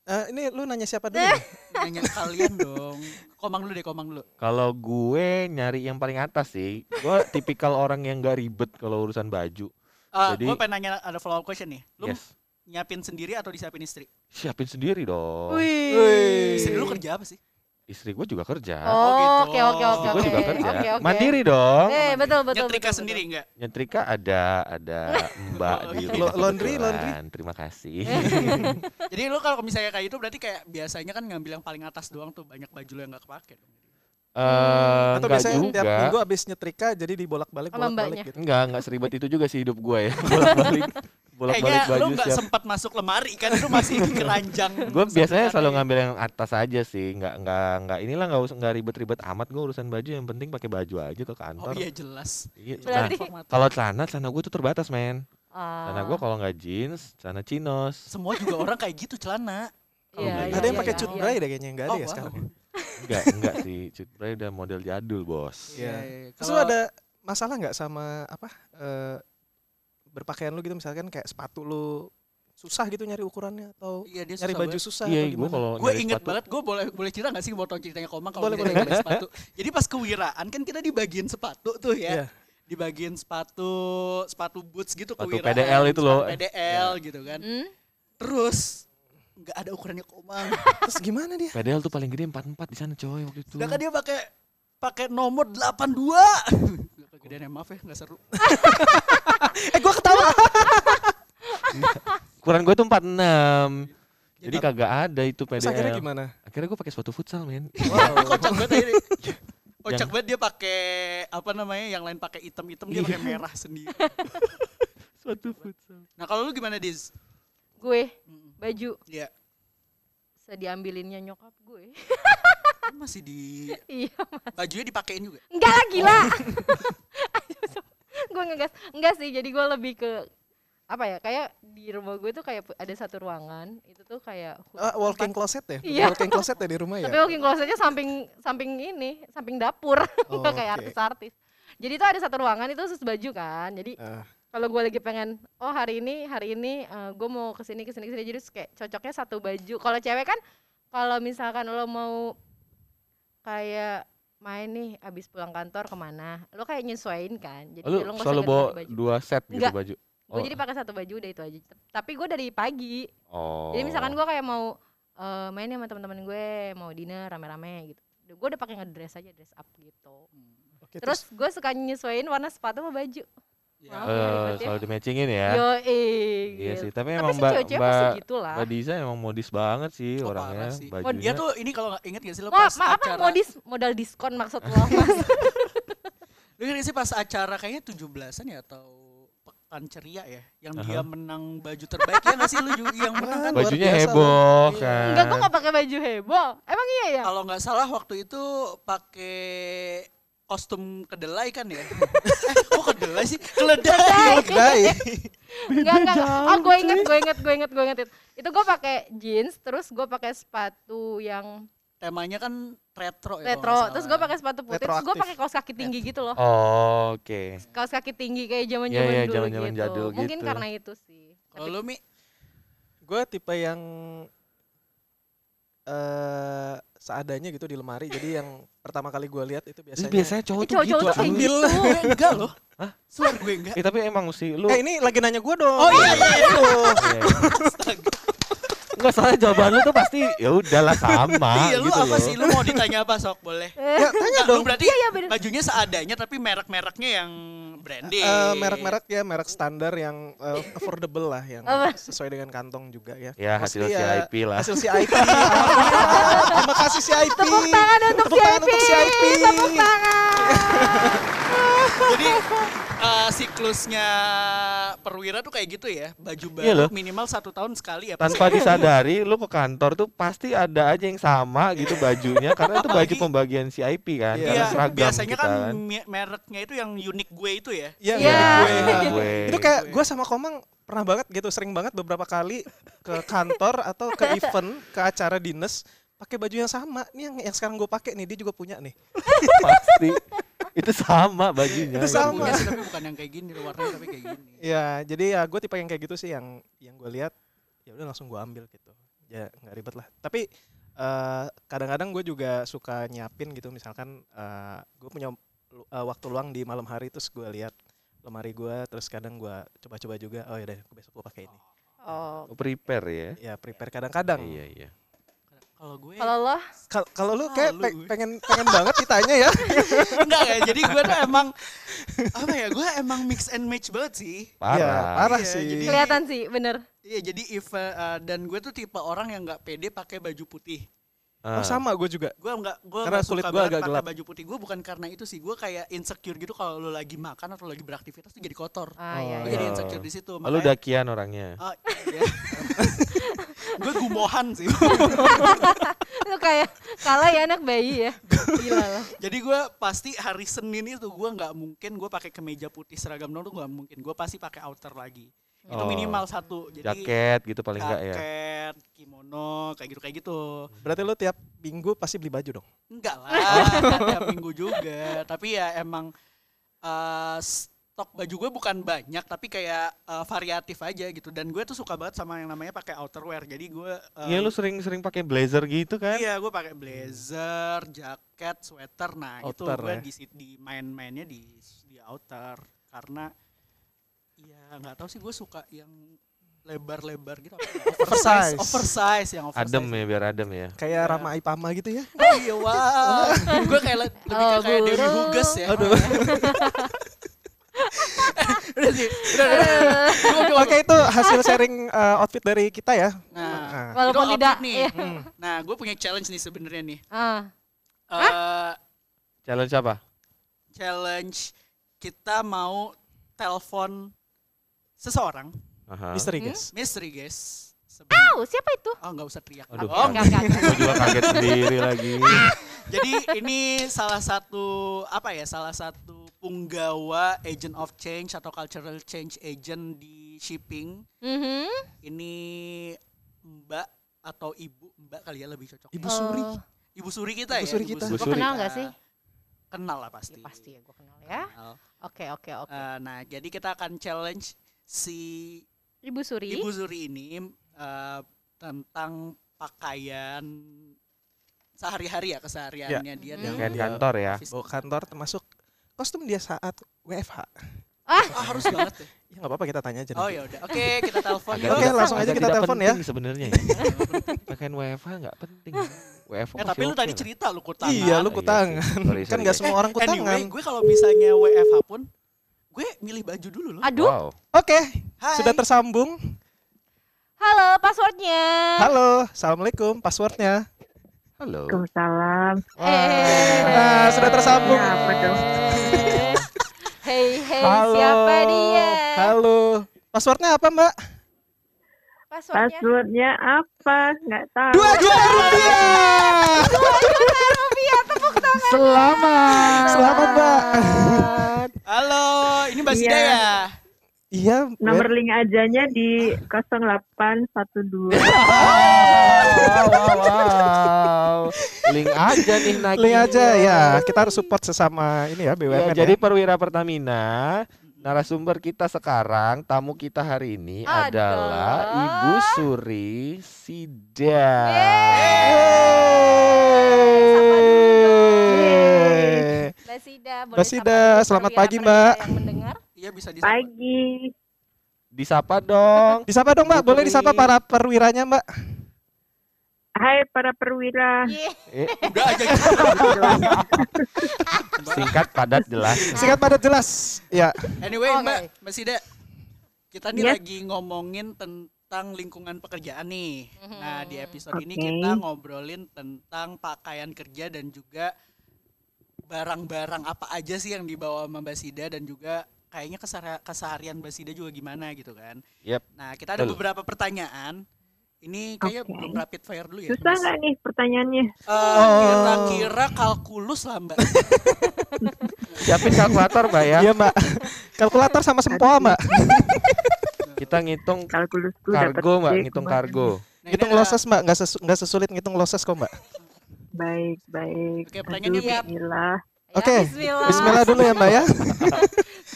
[SPEAKER 3] Eh, ini lu nanya siapa dulu?
[SPEAKER 5] Eh.
[SPEAKER 3] ya? nih?
[SPEAKER 1] nanya ke kalian dong komang dulu deh komang dulu
[SPEAKER 5] Kalau gue nyari yang paling atas sih, gue tipikal orang yang gak ribet kalau urusan baju. Jadi-
[SPEAKER 1] gue Eh, pengen nanya ada follow up question nih lu
[SPEAKER 5] Yes.
[SPEAKER 1] nyiapin sendiri atau disiapin istri
[SPEAKER 5] Siapin sendiri dong.
[SPEAKER 4] Wih.
[SPEAKER 1] istri lu kerja apa sih
[SPEAKER 5] Istri gue juga kerja.
[SPEAKER 1] Oh, gitu.
[SPEAKER 4] Oke
[SPEAKER 5] Istri
[SPEAKER 4] oke oke
[SPEAKER 1] Oh,
[SPEAKER 5] gue
[SPEAKER 4] oke.
[SPEAKER 5] juga kan ya. kerja.
[SPEAKER 4] Oke, oke.
[SPEAKER 5] Mandiri
[SPEAKER 3] Oh,
[SPEAKER 5] dong.
[SPEAKER 4] Eh betul betul.
[SPEAKER 1] nyetrika
[SPEAKER 4] betul,
[SPEAKER 1] sendiri enggak
[SPEAKER 5] Nyetrika ada, ada Mbak di
[SPEAKER 1] Lo-
[SPEAKER 5] rumah
[SPEAKER 3] laundry,
[SPEAKER 5] kebetulan.
[SPEAKER 3] laundry.
[SPEAKER 5] Terima kasih.
[SPEAKER 1] jadi lu kalau misalnya kayak itu berarti kayak biasanya kan ngambil yang paling atas doang tuh banyak baju lu yang gak kepake dong
[SPEAKER 5] Eh
[SPEAKER 3] Atau
[SPEAKER 5] enggak
[SPEAKER 3] biasanya tiap
[SPEAKER 5] juga.
[SPEAKER 3] minggu abis nyetrika jadi dibolak-balik
[SPEAKER 4] Sama mbaknya.
[SPEAKER 3] bolak-balik gitu.
[SPEAKER 5] Enggak, enggak seribet itu juga sih hidup gue ya. Bolak-balik. Bolak-balik
[SPEAKER 1] Kayaknya
[SPEAKER 5] baju
[SPEAKER 1] lu nggak
[SPEAKER 5] siap.
[SPEAKER 1] sempat masuk lemari kan itu masih di keranjang. ya.
[SPEAKER 5] Gue biasanya selalu ngambil yang atas aja sih, nggak nggak nggak inilah nggak usah nggak ribet-ribet amat gue urusan baju yang penting pakai baju aja ke
[SPEAKER 1] Oh
[SPEAKER 5] kantor.
[SPEAKER 1] iya jelas.
[SPEAKER 5] Iya, nah,
[SPEAKER 4] Berarti-
[SPEAKER 1] Format.
[SPEAKER 5] kalau celana celana gue tuh terbatas men. Celana
[SPEAKER 4] Ah,
[SPEAKER 5] gue kalau nggak jeans, celana chinos.
[SPEAKER 1] semua juga orang kayak gitu celana.
[SPEAKER 4] iya,
[SPEAKER 5] Ada
[SPEAKER 4] iya,
[SPEAKER 3] Ada yang
[SPEAKER 4] iya,
[SPEAKER 3] pakai
[SPEAKER 4] iya.
[SPEAKER 3] cut bra deh kayaknya enggak ada
[SPEAKER 1] Oh,
[SPEAKER 3] ya
[SPEAKER 1] wow.
[SPEAKER 3] sekarang.
[SPEAKER 5] Enggak enggak sih, cut bra udah model jadul bos.
[SPEAKER 3] Iya. Terus
[SPEAKER 1] Kalau
[SPEAKER 3] lu ada masalah nggak sama apa eh berpakaian lu gitu misalkan kayak sepatu lu susah gitu nyari ukurannya atau
[SPEAKER 1] Iya dia
[SPEAKER 3] nyari
[SPEAKER 1] susah
[SPEAKER 3] baju
[SPEAKER 1] banget.
[SPEAKER 3] susah
[SPEAKER 5] Iya,
[SPEAKER 3] atau
[SPEAKER 5] gue
[SPEAKER 3] gimana?
[SPEAKER 5] kalau
[SPEAKER 1] Gue
[SPEAKER 5] nyari
[SPEAKER 1] inget
[SPEAKER 5] sepatu-
[SPEAKER 1] banget, gue boleh boleh cerita gak sih potong ceritanya Komang kalau
[SPEAKER 3] Boleh,
[SPEAKER 1] kita
[SPEAKER 3] boleh.
[SPEAKER 1] nyari sepatu. Jadi pas kewiraan kan kita dibagiin sepatu tuh ya.
[SPEAKER 3] Iya.
[SPEAKER 1] Dibagiin sepatu sepatu boots gitu
[SPEAKER 5] Sepatu
[SPEAKER 1] kewiraan.
[SPEAKER 5] PDL itu loh. Iya.
[SPEAKER 1] sepatu PDL gitu kan.
[SPEAKER 4] Hmm?
[SPEAKER 1] Terus nggak ada ukurannya Komang.
[SPEAKER 3] Terus gimana dia?
[SPEAKER 5] PDL tuh paling gede 44 di sana coy waktu itu.
[SPEAKER 1] Sedangkan kan dia pakai pakai nomor 82. Kegedean ya maaf ya nggak seru.
[SPEAKER 3] Eh gue ketawa.
[SPEAKER 5] Ukuran gue tuh 46. Jadi
[SPEAKER 1] Jadi
[SPEAKER 5] kagak ada itu
[SPEAKER 3] Iya. Terus akhirnya
[SPEAKER 5] PDL.
[SPEAKER 3] gimana?
[SPEAKER 5] Akhirnya gue pakai sepatu futsal, men.
[SPEAKER 1] kocak banget akhirnya. Kocak
[SPEAKER 5] Oh. Ya. Yang-
[SPEAKER 1] banget dia pakai apa namanya yang lain pakai hitam-hitam dia
[SPEAKER 5] Iya.
[SPEAKER 1] pakai merah sendiri.
[SPEAKER 5] sepatu futsal.
[SPEAKER 1] Nah kalau lu gimana Diz?
[SPEAKER 4] Gue
[SPEAKER 1] Mm,
[SPEAKER 4] baju
[SPEAKER 1] Iya.
[SPEAKER 4] sediambilinnya nyokap gue.
[SPEAKER 1] Lu masih di
[SPEAKER 4] Iya, Oh.
[SPEAKER 1] bajunya dipakein juga.
[SPEAKER 4] enggak lah Ah, gila. gue ngegas, enggak sih. Jadi gue lebih ke apa ya? Kayak di rumah gue tuh kayak pu- ada satu ruangan, itu tuh kayak
[SPEAKER 3] Ah, walking closet ya?
[SPEAKER 4] Iya.
[SPEAKER 3] Walking closet ya di rumah ya?
[SPEAKER 4] Tapi walking closetnya samping samping ini, samping dapur.
[SPEAKER 3] Oh,
[SPEAKER 4] Nggak kayak
[SPEAKER 3] oke.
[SPEAKER 4] artis-artis. Jadi itu ada satu ruangan itu khusus baju kan. Jadi
[SPEAKER 3] Ah,
[SPEAKER 4] kalau gue lagi pengen, oh hari ini hari ini gue mau kesini kesini kesini. Jadi terus kayak cocoknya satu baju. Kalau cewek kan, kalau misalkan lo mau kayak main nih abis pulang kantor kemana, lo kayak nyesuaiin kan. Jadi
[SPEAKER 5] Oh, Lu
[SPEAKER 4] lo nggak usah
[SPEAKER 5] selalu
[SPEAKER 4] ganti
[SPEAKER 5] bawa
[SPEAKER 4] baju.
[SPEAKER 5] dua set gitu
[SPEAKER 4] Enggak.
[SPEAKER 5] baju.
[SPEAKER 4] Gue jadi pakai satu baju udah itu aja. Tapi gue dari pagi.
[SPEAKER 5] Oh.
[SPEAKER 4] Jadi misalkan gue kayak mau eh, main nih sama teman-teman gue, mau dinner rame-rame gitu. Gue udah pakai ngedress aja, dress up gitu.
[SPEAKER 1] Hmm,
[SPEAKER 3] oke,
[SPEAKER 4] Terus gue suka nyesuaiin warna sepatu sama baju.
[SPEAKER 1] Ya.
[SPEAKER 4] Wow.
[SPEAKER 5] Eh,
[SPEAKER 4] ribet ya.
[SPEAKER 5] selalu di matchingin ya.
[SPEAKER 4] Yo,
[SPEAKER 5] Iya sih, tapi
[SPEAKER 4] Tapi
[SPEAKER 5] emang
[SPEAKER 4] sih
[SPEAKER 5] Mbak
[SPEAKER 4] cewek-cewek pasti
[SPEAKER 5] Mbak
[SPEAKER 4] gitu lah.
[SPEAKER 5] Mbak Disa emang modis banget sih
[SPEAKER 1] Oh,
[SPEAKER 5] orangnya,
[SPEAKER 1] parah sih.
[SPEAKER 5] bajunya.
[SPEAKER 1] Dia tuh ini kalau nggak inget gak sih lo
[SPEAKER 4] Wah,
[SPEAKER 1] pas
[SPEAKER 4] ma- apa
[SPEAKER 1] acara.
[SPEAKER 4] modis modal diskon maksud lo? Mas?
[SPEAKER 1] Lu inget nggak sih pas acara kayaknya 17-an ya atau pekan ceria ya yang dia menang baju terbaik ya nggak sih lu juga yang menang kan
[SPEAKER 3] Luar
[SPEAKER 5] bajunya
[SPEAKER 3] biasa
[SPEAKER 5] heboh
[SPEAKER 3] loh. Iya.
[SPEAKER 5] kan.
[SPEAKER 4] Enggak, gue gak pakai baju heboh. Emang iya ya?
[SPEAKER 1] kalau nggak salah waktu itu pakai kostum kedelai kan ya eh, kok kedelai sih keledai
[SPEAKER 3] terus kedai.
[SPEAKER 4] Enggak, enggak. Oh, gue inget, gue inget, gue inget, gue inget. itu. Itu gue pakai jeans, terus gue pakai sepatu yang
[SPEAKER 1] temanya kan retro ya kalau nggak
[SPEAKER 4] retro,
[SPEAKER 1] salah.
[SPEAKER 4] terus gue pakai sepatu putih, terus gue
[SPEAKER 3] Retroaktif.
[SPEAKER 4] pakai kaos kaki tinggi gitu loh.
[SPEAKER 5] Oh, Oke.
[SPEAKER 4] Kaos kaki tinggi kayak zaman-zaman
[SPEAKER 5] Iya, iya,
[SPEAKER 4] dulu
[SPEAKER 5] zaman-zaman
[SPEAKER 4] gitu.
[SPEAKER 5] jadul
[SPEAKER 4] Mungkin
[SPEAKER 5] gitu.
[SPEAKER 4] karena itu sih.
[SPEAKER 1] kalau lu mi
[SPEAKER 3] Gue tipe yang eh seadanya gitu di lemari. Jadi yang pertama kali gue lihat itu
[SPEAKER 5] Tapi
[SPEAKER 3] biasanya.
[SPEAKER 5] biasanya cowok
[SPEAKER 4] Eh,
[SPEAKER 5] tuh gitu.
[SPEAKER 4] cowok-cowok tuh kayak
[SPEAKER 5] Ang.
[SPEAKER 4] gitu.
[SPEAKER 1] gue enggak loh suar gue enggak
[SPEAKER 5] Eh, tapi emang sih lu
[SPEAKER 3] Eh ini lagi nanya gue dong.
[SPEAKER 1] oh iya iya, iya.
[SPEAKER 5] Iya. Enggak soalnya jawaban lu tuh pasti ya udahlah sama
[SPEAKER 1] Iya, lu
[SPEAKER 5] gitu
[SPEAKER 1] apa
[SPEAKER 5] loh.
[SPEAKER 1] sih lu mau ditanya apa sok boleh
[SPEAKER 3] Ya, tanya
[SPEAKER 1] Enggak, lu
[SPEAKER 3] dong.
[SPEAKER 1] berarti
[SPEAKER 4] Eh, Iya, iya, bener.
[SPEAKER 1] bajunya seadanya tapi merek-mereknya yang branding
[SPEAKER 3] Eh, merek-merek ya merek standar yang eh, affordable lah yang
[SPEAKER 4] Apa?
[SPEAKER 3] sesuai dengan kantong juga ya.
[SPEAKER 5] Ya hasil
[SPEAKER 3] Mostly ya,
[SPEAKER 5] CIP lah.
[SPEAKER 3] Hasil CIP. Alhamdulillah. Terima kasih CIP.
[SPEAKER 4] Tepuk tangan untuk
[SPEAKER 3] Tepuk tangan untuk
[SPEAKER 4] CIP.
[SPEAKER 3] CIP.
[SPEAKER 4] Tepuk tangan.
[SPEAKER 1] Jadi eh, siklusnya perwira tuh kayak gitu ya, baju
[SPEAKER 5] Iya
[SPEAKER 1] baru
[SPEAKER 5] loh.
[SPEAKER 1] minimal satu tahun sekali ya.
[SPEAKER 5] Tanpa disadari lu ke kantor tuh pasti ada aja yang sama gitu bajunya karena itu baju
[SPEAKER 1] Iya. Apalagi-
[SPEAKER 5] pembagian CIP kan.
[SPEAKER 3] Iya,
[SPEAKER 5] Karena
[SPEAKER 1] Iya,
[SPEAKER 5] seragam
[SPEAKER 1] biasanya
[SPEAKER 5] kita
[SPEAKER 1] kan, me- mereknya itu yang unik gue itu ya.
[SPEAKER 3] Iya,
[SPEAKER 4] Iya.
[SPEAKER 3] menurut gue.
[SPEAKER 5] Nah, gue.
[SPEAKER 3] Itu kayak gue sama Komang pernah banget gitu, sering banget beberapa kali ke kantor atau ke event, ke acara dinas pakai baju yang sama. Nih yang, yang sekarang gue pakai nih, dia juga punya nih.
[SPEAKER 5] pasti itu sama bajunya. ya.
[SPEAKER 3] Itu
[SPEAKER 1] Gue
[SPEAKER 3] sama.
[SPEAKER 1] punya sih, tapi bukan yang kayak gini, warnanya tapi kayak gini.
[SPEAKER 3] Ya, jadi ya gue tipe yang kayak gitu sih yang yang gue lihat ya udah langsung gue ambil gitu. Ya nggak ribet lah. Tapi eh, kadang-kadang gue juga suka nyiapin gitu misalkan eh, gue punya lu- eh, waktu luang di malam hari terus gue lihat lemari gue terus kadang gue coba-coba juga oh ya udah besok gue pakai ini.
[SPEAKER 4] Oh,
[SPEAKER 5] Prepare ya.
[SPEAKER 3] Ya prepare kadang-kadang.
[SPEAKER 5] Iya iya.
[SPEAKER 1] Kalau gue
[SPEAKER 4] kalau lo
[SPEAKER 3] Kal- Kalau lu kayak
[SPEAKER 1] Malu
[SPEAKER 3] pe-
[SPEAKER 1] gue.
[SPEAKER 3] pengen pengen banget ditanya ya.
[SPEAKER 1] enggak ya, jadi gue tuh emang apa ya? Gue emang mix and match banget sih.
[SPEAKER 5] Parah.
[SPEAKER 3] Ya, parah
[SPEAKER 1] Iya,
[SPEAKER 3] sih.
[SPEAKER 1] jadi-
[SPEAKER 4] kelihatan sih, bener.
[SPEAKER 1] Iya, jadi if eh, dan gue tuh tipe orang yang nggak pede pakai baju putih.
[SPEAKER 5] Ah.
[SPEAKER 3] Oh sama gue juga.
[SPEAKER 1] Gue nggak gue
[SPEAKER 3] Karena
[SPEAKER 1] nggak suka
[SPEAKER 3] kulit gue
[SPEAKER 1] banget
[SPEAKER 3] agak
[SPEAKER 1] pakai
[SPEAKER 3] gelap.
[SPEAKER 1] baju putih. Gue bukan karena itu sih. Gue kayak insecure gitu kalau lo lagi makan atau lagi beraktivitas tuh jadi kotor.
[SPEAKER 4] Ah, iya,
[SPEAKER 1] Gue
[SPEAKER 4] iya.
[SPEAKER 1] jadi insecure di situ.
[SPEAKER 5] Lu
[SPEAKER 1] makanya-
[SPEAKER 5] dakian orangnya.
[SPEAKER 1] Oh, iya. gue gumohan sih.
[SPEAKER 4] Lu kayak kalah ya anak bayi ya. Gila lah.
[SPEAKER 1] Jadi gue pasti hari Senin itu gue nggak mungkin gue pakai kemeja putih seragam nol tuh nggak mungkin. Gue pasti pakai outer lagi. Itu
[SPEAKER 5] Oh.
[SPEAKER 1] minimal satu. Jadi
[SPEAKER 5] Jaket gitu paling enggak ya.
[SPEAKER 1] jaket, kimono, kayak gitu kayak gitu.
[SPEAKER 3] Berarti lu tiap minggu pasti beli baju dong.
[SPEAKER 5] Hmm.
[SPEAKER 1] Enggak lah, nggak tiap minggu juga. Tapi ya emang eh, stok stok baju gue bukan banyak tapi kayak eh, variatif aja gitu dan gue tuh suka banget sama yang namanya pakai outerwear jadi gue eh,
[SPEAKER 5] Iya lu sering-sering pakai blazer gitu kan?
[SPEAKER 1] iya gue pakai blazer jaket sweater nah
[SPEAKER 3] Outer
[SPEAKER 1] itu gue
[SPEAKER 3] ya.
[SPEAKER 1] di sit- di main-mainnya di di outer karena ya nggak tahu sih gue suka yang lebar-lebar gitu apa ya?
[SPEAKER 2] Oversize.
[SPEAKER 1] oversize yang oversize
[SPEAKER 5] Adem ya biar adem ya.
[SPEAKER 3] Kayak
[SPEAKER 1] Iya.
[SPEAKER 3] Rama Ipama gitu ya.
[SPEAKER 1] Oh, iya wow gue kayak le- lebih ke
[SPEAKER 4] Oh,
[SPEAKER 1] kayak Dewi
[SPEAKER 4] guru.
[SPEAKER 1] Huges ya
[SPEAKER 4] Aduh.
[SPEAKER 1] udah sih udah, udah, udah. Gua- gua-
[SPEAKER 3] Oke itu hasil sharing eh, outfit dari kita ya.
[SPEAKER 1] nah
[SPEAKER 3] Nah,
[SPEAKER 4] Walaupun
[SPEAKER 1] Itu
[SPEAKER 4] tidak
[SPEAKER 1] outfit nih.
[SPEAKER 4] ya.
[SPEAKER 3] hmm.
[SPEAKER 1] Nah, gue punya challenge nih sebenarnya nih.
[SPEAKER 4] Ah,
[SPEAKER 1] Eh
[SPEAKER 5] Challenge apa?
[SPEAKER 1] challenge kita mau telepon seseorang,
[SPEAKER 5] Aha.
[SPEAKER 3] Misteri
[SPEAKER 4] Hmm?
[SPEAKER 3] guys.
[SPEAKER 1] misteri guys. Sebelum-
[SPEAKER 4] Tahu siapa itu?
[SPEAKER 1] Oh, nggak usah teriak.
[SPEAKER 5] Aduh.
[SPEAKER 1] Oh,
[SPEAKER 4] Enggak, enggak, enggak.
[SPEAKER 5] Gua juga kaget sendiri lagi.
[SPEAKER 1] jadi ini salah satu apa ya? Salah satu punggawa agent of change atau cultural change agent di shipping.
[SPEAKER 4] Mhm.
[SPEAKER 1] Ini Mbak atau Ibu Mbak kali ya lebih cocok.
[SPEAKER 3] Ibu Suri.
[SPEAKER 4] Oh,
[SPEAKER 1] Ibu Suri kita ya.
[SPEAKER 3] Ibu Suri kita.
[SPEAKER 5] Ibu
[SPEAKER 4] Gua
[SPEAKER 5] Suri.
[SPEAKER 4] kenal nggak sih?
[SPEAKER 1] Kenal lah
[SPEAKER 4] Ya,
[SPEAKER 1] pasti.
[SPEAKER 4] pasti ya gue kenal ya.
[SPEAKER 1] Kenal.
[SPEAKER 4] Oke, oke, oke.
[SPEAKER 1] Eh, nah, jadi kita akan challenge si
[SPEAKER 4] Ibu Suri.
[SPEAKER 1] Ibu Zuri ini eh, tentang pakaian sehari-hari ya kesehariannya dia
[SPEAKER 4] Mhm.
[SPEAKER 1] dan
[SPEAKER 5] Kayak
[SPEAKER 3] Iya.
[SPEAKER 5] kantor ya.
[SPEAKER 1] office.
[SPEAKER 3] Bawa kantor termasuk kostum dia saat WFH.
[SPEAKER 1] Ah, harus banget ya.
[SPEAKER 3] Ya nggak apa-apa kita tanya aja.
[SPEAKER 1] Oh
[SPEAKER 5] iya.
[SPEAKER 3] nanti.
[SPEAKER 1] ya udah. Oke, kita telepon
[SPEAKER 5] Agak
[SPEAKER 1] yuk.
[SPEAKER 3] Oke,
[SPEAKER 5] tidak-
[SPEAKER 3] langsung aja
[SPEAKER 5] agak
[SPEAKER 3] kita
[SPEAKER 5] tidak
[SPEAKER 3] telepon ya.
[SPEAKER 5] penting Sebenarnya ya. Pakaian WFH nggak penting. WFH
[SPEAKER 1] Eh, tapi
[SPEAKER 5] masih
[SPEAKER 1] lu
[SPEAKER 5] oke
[SPEAKER 1] tadi
[SPEAKER 5] lah.
[SPEAKER 1] cerita lu kutangan.
[SPEAKER 3] Iya lu
[SPEAKER 5] Iya sih.
[SPEAKER 3] kutangan.
[SPEAKER 5] Sorry,
[SPEAKER 3] Kan
[SPEAKER 5] sorry,
[SPEAKER 3] nggak
[SPEAKER 5] guys.
[SPEAKER 3] semua orang
[SPEAKER 1] Anyway,
[SPEAKER 3] kutangan.
[SPEAKER 1] gue kalau misalnya WFH pun gue milih baju dulu loh.
[SPEAKER 4] Aduh,
[SPEAKER 5] Wow.
[SPEAKER 3] Oke,
[SPEAKER 1] Hai.
[SPEAKER 3] sudah tersambung.
[SPEAKER 4] halo passwordnya.
[SPEAKER 3] Halo, assalamualaikum. Passwordnya.
[SPEAKER 5] Halo.
[SPEAKER 6] Waalaikumsalam.
[SPEAKER 4] Eh.
[SPEAKER 3] Nah, sudah tersambung.
[SPEAKER 6] Ya, apa dong?
[SPEAKER 4] Hei, hei,
[SPEAKER 3] Halo.
[SPEAKER 4] siapa dia?
[SPEAKER 3] Halo. Passwordnya apa mbak?
[SPEAKER 4] Passwordnya.
[SPEAKER 6] Passwordnya apa? Nggak tahu.
[SPEAKER 3] Dua juta rupiah.
[SPEAKER 5] Selamat.
[SPEAKER 3] Selamat mbak.
[SPEAKER 1] Halo, ini Mbak Sida
[SPEAKER 6] Iya.
[SPEAKER 1] ya.
[SPEAKER 3] Iya. Bu.
[SPEAKER 6] Nomor link ajanya di 0812.
[SPEAKER 5] wow, wow. Link aja nih Nagi.
[SPEAKER 3] Link aja ya. Kita harus support sesama ini
[SPEAKER 5] Ya,
[SPEAKER 3] ya BUMN.
[SPEAKER 5] jadi
[SPEAKER 3] ya.
[SPEAKER 5] perwira Pertamina narasumber kita sekarang tamu kita hari ini
[SPEAKER 4] Adalah-
[SPEAKER 5] adalah Ibu Suri Sida.
[SPEAKER 3] Yeay.
[SPEAKER 4] Mbak Sida, boleh
[SPEAKER 3] Mbak
[SPEAKER 4] sapa
[SPEAKER 3] Sida,
[SPEAKER 4] dulu
[SPEAKER 3] selamat
[SPEAKER 4] perwira
[SPEAKER 3] pagi,
[SPEAKER 4] perwira
[SPEAKER 3] Mbak.
[SPEAKER 4] yang mendengar.
[SPEAKER 1] Iya bisa disapa.
[SPEAKER 6] Pagi.
[SPEAKER 5] Disapa dong.
[SPEAKER 3] Disapa dong Mbak, boleh disapa para perwiranya Mbak?
[SPEAKER 6] Hai para perwira.
[SPEAKER 4] Yeay.
[SPEAKER 5] Eh,
[SPEAKER 1] Udah aja gitu.
[SPEAKER 5] singkat padat jelas.
[SPEAKER 3] Singkat padat jelas. Ya,
[SPEAKER 1] Anyway,
[SPEAKER 6] Oh,
[SPEAKER 4] Oke.
[SPEAKER 1] Mbak, Mbak Sida, kita nih
[SPEAKER 6] Yes.
[SPEAKER 1] lagi ngomongin tentang lingkungan pekerjaan nih.
[SPEAKER 6] Mm-hmm.
[SPEAKER 1] Nah, di episode ini
[SPEAKER 6] Oke.
[SPEAKER 1] kita ngobrolin tentang pakaian kerja dan juga barang-barang apa aja sih yang dibawa sama Mbak Sida dan juga kayaknya kesehari- keseharian Mbak Sida juga gimana gitu kan.
[SPEAKER 5] Yep.
[SPEAKER 1] Nah, kita ada
[SPEAKER 5] Betul.
[SPEAKER 1] beberapa pertanyaan. Ini kayaknya
[SPEAKER 6] Oke.
[SPEAKER 1] belum rapid fire dulu ya.
[SPEAKER 6] Susah
[SPEAKER 1] Mas.
[SPEAKER 6] nggak nih pertanyaannya?
[SPEAKER 1] Eh,
[SPEAKER 5] Oh.
[SPEAKER 1] Kira-kira kalkulus lah Mbak.
[SPEAKER 5] Siapin kalkulator, Mbak ya.
[SPEAKER 3] iya Mbak. Kalkulator sama sempoa Mbak.
[SPEAKER 5] Kita ngitung
[SPEAKER 6] Kalkulusku dapat
[SPEAKER 5] kargo, Mbak,
[SPEAKER 6] C
[SPEAKER 5] ngitung
[SPEAKER 6] kemarin.
[SPEAKER 5] kargo.
[SPEAKER 1] Nah, ini
[SPEAKER 3] Ngitung
[SPEAKER 1] ada-
[SPEAKER 3] losses Mbak, nggak sesu- nggak sesulit ngitung losses kok Mbak.
[SPEAKER 6] Baik, baik.
[SPEAKER 1] Oke, pertanyaannya
[SPEAKER 6] Aduh,
[SPEAKER 4] Yap.
[SPEAKER 6] bismillah.
[SPEAKER 4] Ya,
[SPEAKER 3] Oke,
[SPEAKER 4] Bismillah. Ya,
[SPEAKER 3] Bismillah dulu ya Mbak ya.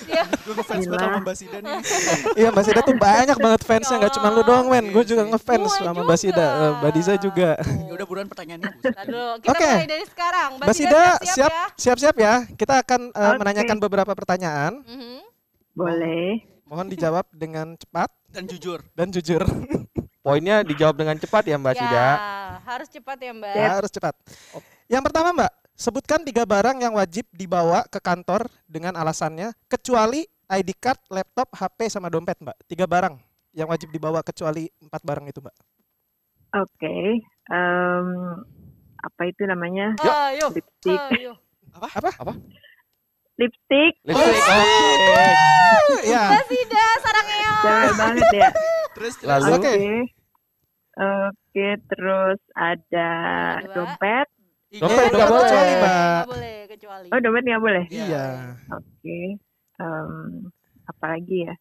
[SPEAKER 4] Siap.
[SPEAKER 1] Gue ngefans banget sama Mbak Sida nih.
[SPEAKER 3] Iya Mbak Sida tuh banyak banget fansnya, nggak cuma lu doang men. Gue juga
[SPEAKER 1] Iya sih.
[SPEAKER 3] ngefans
[SPEAKER 4] Gua
[SPEAKER 3] sama Mbak Sida,
[SPEAKER 4] juga.
[SPEAKER 3] Eh, Mbak Diza juga.
[SPEAKER 1] Ya udah buruan pertanyaannya. Bu.
[SPEAKER 4] Ntar dulu, kita
[SPEAKER 3] Oke.
[SPEAKER 4] mulai dari sekarang. Mbak,
[SPEAKER 3] Mbak
[SPEAKER 4] Sida,
[SPEAKER 3] Sida,
[SPEAKER 4] siap,
[SPEAKER 3] siap.
[SPEAKER 4] ya.
[SPEAKER 3] Siap-siap ya, kita akan eh,
[SPEAKER 6] Oke.
[SPEAKER 3] menanyakan beberapa pertanyaan.
[SPEAKER 4] Mhm.
[SPEAKER 6] Boleh.
[SPEAKER 3] Mohon dijawab dengan cepat
[SPEAKER 1] Dan jujur.
[SPEAKER 3] dan jujur.
[SPEAKER 5] Poinnya dijawab dengan cepat ya, Mbak
[SPEAKER 4] ya,
[SPEAKER 5] Sida.
[SPEAKER 4] harus cepat ya Mbak.
[SPEAKER 3] Ya, harus cepat. Yang pertama Mbak, sebutkan tiga barang yang wajib dibawa ke kantor dengan alasannya kecuali ID card, laptop, HP sama dompet Mbak. Tiga barang yang wajib dibawa kecuali empat barang itu Mbak.
[SPEAKER 6] Oke. Em, apa itu namanya?
[SPEAKER 4] Ayo,
[SPEAKER 6] Lipstick.
[SPEAKER 4] ayo.
[SPEAKER 6] Lipstick.
[SPEAKER 5] Lipstick. Oke.
[SPEAKER 3] ya,
[SPEAKER 4] Mbak Sida, sarangnya.
[SPEAKER 6] Cewek banget ya.
[SPEAKER 1] Terus
[SPEAKER 5] Lalu
[SPEAKER 6] Oke.
[SPEAKER 3] Oke.
[SPEAKER 6] Oke, terus ada
[SPEAKER 4] Yang kedua.
[SPEAKER 6] dompet.
[SPEAKER 1] Eh,
[SPEAKER 4] ya?
[SPEAKER 5] Dompet
[SPEAKER 3] nggak
[SPEAKER 5] nggak boleh.
[SPEAKER 3] kecuali Mbak.
[SPEAKER 4] Nggak boleh kecuali.
[SPEAKER 6] Oh, dompet nggak boleh.
[SPEAKER 1] Iya.
[SPEAKER 3] Iya.
[SPEAKER 6] Oke. Em, apa lagi ya?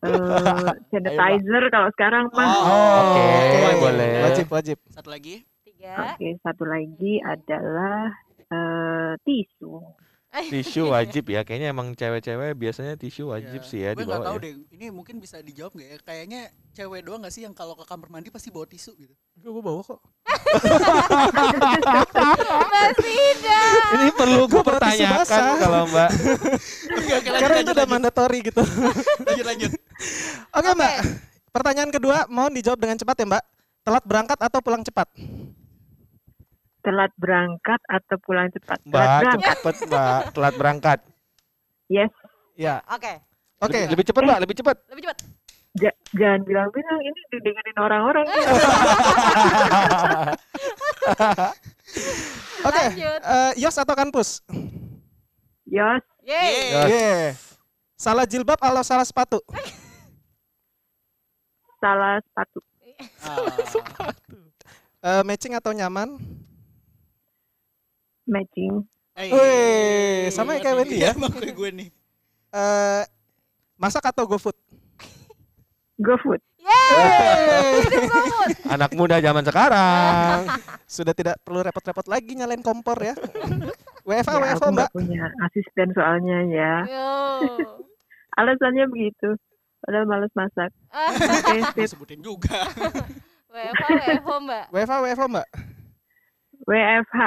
[SPEAKER 6] Eh, sanitizer kalau sekarang mah.
[SPEAKER 1] Oh,
[SPEAKER 5] Oke,
[SPEAKER 1] Oke.
[SPEAKER 5] boleh.
[SPEAKER 3] Wajib, wajib.
[SPEAKER 1] Satu lagi.
[SPEAKER 4] Tiga.
[SPEAKER 6] Oke, satu lagi adalah eh, tisu.
[SPEAKER 5] Tisu wajib ya. Kayaknya emang cewek-cewek biasanya tisu wajib sih ya
[SPEAKER 1] Gue nggak
[SPEAKER 5] dibawa
[SPEAKER 1] tahu
[SPEAKER 5] ya.
[SPEAKER 1] deh. Ini mungkin bisa dijawab nggak ya? Kayaknya cewek doang nggak sih yang kalau ke kamar mandi pasti bawa tisu gitu.
[SPEAKER 3] Gue bawa kok.
[SPEAKER 4] Mas tidak.
[SPEAKER 5] Ini perlu gue
[SPEAKER 3] Gua bawa tisu
[SPEAKER 5] pertanyakan
[SPEAKER 3] basah.
[SPEAKER 5] kalau Mbak.
[SPEAKER 1] Oke, oke, lanjut,
[SPEAKER 3] Karena itu
[SPEAKER 1] lanjut,
[SPEAKER 3] udah
[SPEAKER 1] lanjut,
[SPEAKER 3] mandatory gitu.
[SPEAKER 1] lanjut, lanjut.
[SPEAKER 3] Oke Mbak, pertanyaan kedua mohon dijawab dengan cepat ya Mbak. Telat berangkat atau pulang cepat?
[SPEAKER 6] Telat berangkat atau pulang cepat?
[SPEAKER 5] Mbak
[SPEAKER 6] Telat berangkat.
[SPEAKER 5] cepet Mbak. Telat berangkat.
[SPEAKER 6] Yes.
[SPEAKER 3] Ya.
[SPEAKER 4] Oke,
[SPEAKER 3] Oke.
[SPEAKER 5] Lebih, lebih cepet Mbak. Lebih cepet.
[SPEAKER 4] lebih cepat.
[SPEAKER 6] Ja- jangan bilang-bilang ini didengerin orang-orang.
[SPEAKER 3] Eh. Oke.
[SPEAKER 4] Lanjut.
[SPEAKER 3] Eh, Yos atau kampus?
[SPEAKER 6] Yos,
[SPEAKER 4] Yeay.
[SPEAKER 5] Yos.
[SPEAKER 3] Ye. Iya. Salah jilbab atau salah sepatu?
[SPEAKER 6] salah sepatu.
[SPEAKER 1] Ah,
[SPEAKER 3] Eh, matching atau nyaman?
[SPEAKER 6] Matching.
[SPEAKER 1] eh,
[SPEAKER 3] Wih, sama kayak Wendy ya.
[SPEAKER 1] Emang kayak gue nih.
[SPEAKER 3] Eh, masak atau GoFood?
[SPEAKER 6] GoFood.
[SPEAKER 4] Yeay. Hidup semut.
[SPEAKER 5] Anak muda zaman sekarang.
[SPEAKER 3] Ah. Sudah tidak perlu repot-repot lagi nyalain kompor ya. WFA,
[SPEAKER 6] Ya,
[SPEAKER 3] WFO
[SPEAKER 6] aku
[SPEAKER 3] Mbak.
[SPEAKER 6] nggak punya asisten soalnya ya.
[SPEAKER 4] Yo.
[SPEAKER 6] Alasannya begitu. Padahal males masak.
[SPEAKER 4] Ah,
[SPEAKER 6] Oke,
[SPEAKER 1] Gue
[SPEAKER 6] sip.
[SPEAKER 1] sebutin juga.
[SPEAKER 4] WFH, WFH mbak.
[SPEAKER 3] WFA, WFO Mbak.
[SPEAKER 6] WFH.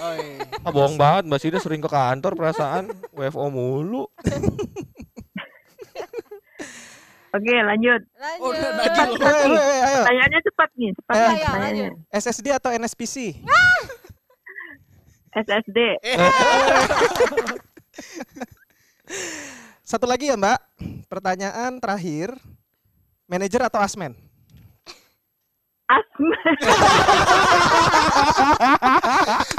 [SPEAKER 1] Oh, iya.
[SPEAKER 5] Ah, bohong banget Mbak Sida sering ke kantor perasaan WFO mulu.
[SPEAKER 6] Oke, lanjut.
[SPEAKER 4] Lanjut.
[SPEAKER 1] Oh, udah, lanjut.
[SPEAKER 3] Eh, eh, eh, ayo.
[SPEAKER 6] Pertanyaannya cepat nih, cepat
[SPEAKER 3] Eh,
[SPEAKER 6] nih
[SPEAKER 4] ayo,
[SPEAKER 6] pertanyaannya.
[SPEAKER 3] SSD atau NSPC?
[SPEAKER 6] SSD,
[SPEAKER 3] Satu lagi ya Mbak. Pertanyaan terakhir. Manajer atau asmen?
[SPEAKER 6] asma.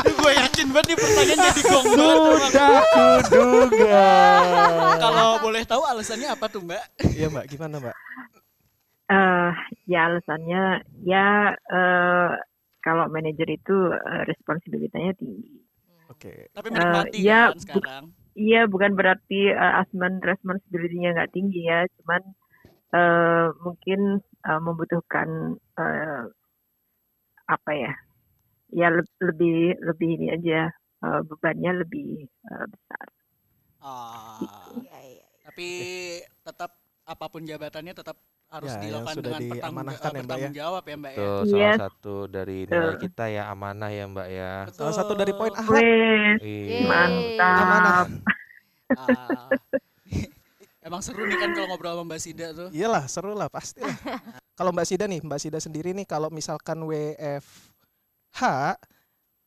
[SPEAKER 1] Aduh, gue yakin banget nih pertanyaan jadi gong banget tuh, Bang.
[SPEAKER 5] Sudah kuduga.
[SPEAKER 1] Kalau boleh tahu alasannya apa tuh Mbak?
[SPEAKER 3] Iya Mbak, gimana Mbak?
[SPEAKER 6] Eh, ya alasannya ya eh, kalau manajer itu eh, responsibilitasnya tinggi.
[SPEAKER 3] Oke.
[SPEAKER 1] Tapi menikmati
[SPEAKER 6] Eh,
[SPEAKER 1] kan
[SPEAKER 6] ya, bu-
[SPEAKER 1] sekarang.
[SPEAKER 6] Iya, bukan berarti eh, asmen responsibility-nya nggak tinggi ya, cuman eh, mungkin eh, membutuhkan eh, apa ya? Ya le- lebih lebih ini aja eh, bebannya lebih eh, besar.
[SPEAKER 1] Ah,
[SPEAKER 4] Iya, iya.
[SPEAKER 1] tapi tetap apapun jabatannya tetap harus
[SPEAKER 3] Ya, yang
[SPEAKER 1] dilakukan
[SPEAKER 3] sudah
[SPEAKER 1] dengan pertanggung,
[SPEAKER 3] diamanahkan ya, Mbak, ya.
[SPEAKER 1] bertanggung jawab ya Mbak ya.
[SPEAKER 5] Itu
[SPEAKER 6] Yes.
[SPEAKER 5] salah satu dari nilai
[SPEAKER 6] Betul.
[SPEAKER 5] kita ya amanah ya Mbak ya.
[SPEAKER 1] Betul.
[SPEAKER 3] Salah satu dari poin akhlak.
[SPEAKER 6] Wes,
[SPEAKER 5] Iya.
[SPEAKER 3] Amanah.
[SPEAKER 6] mantap.
[SPEAKER 1] Ah. Emang seru nih kan kalau ngobrol sama Mbak Sida tuh.
[SPEAKER 3] Iyalah, seru lah pasti lah. kalau Mbak Sida nih, Mbak Sida sendiri nih kalau misalkan WFH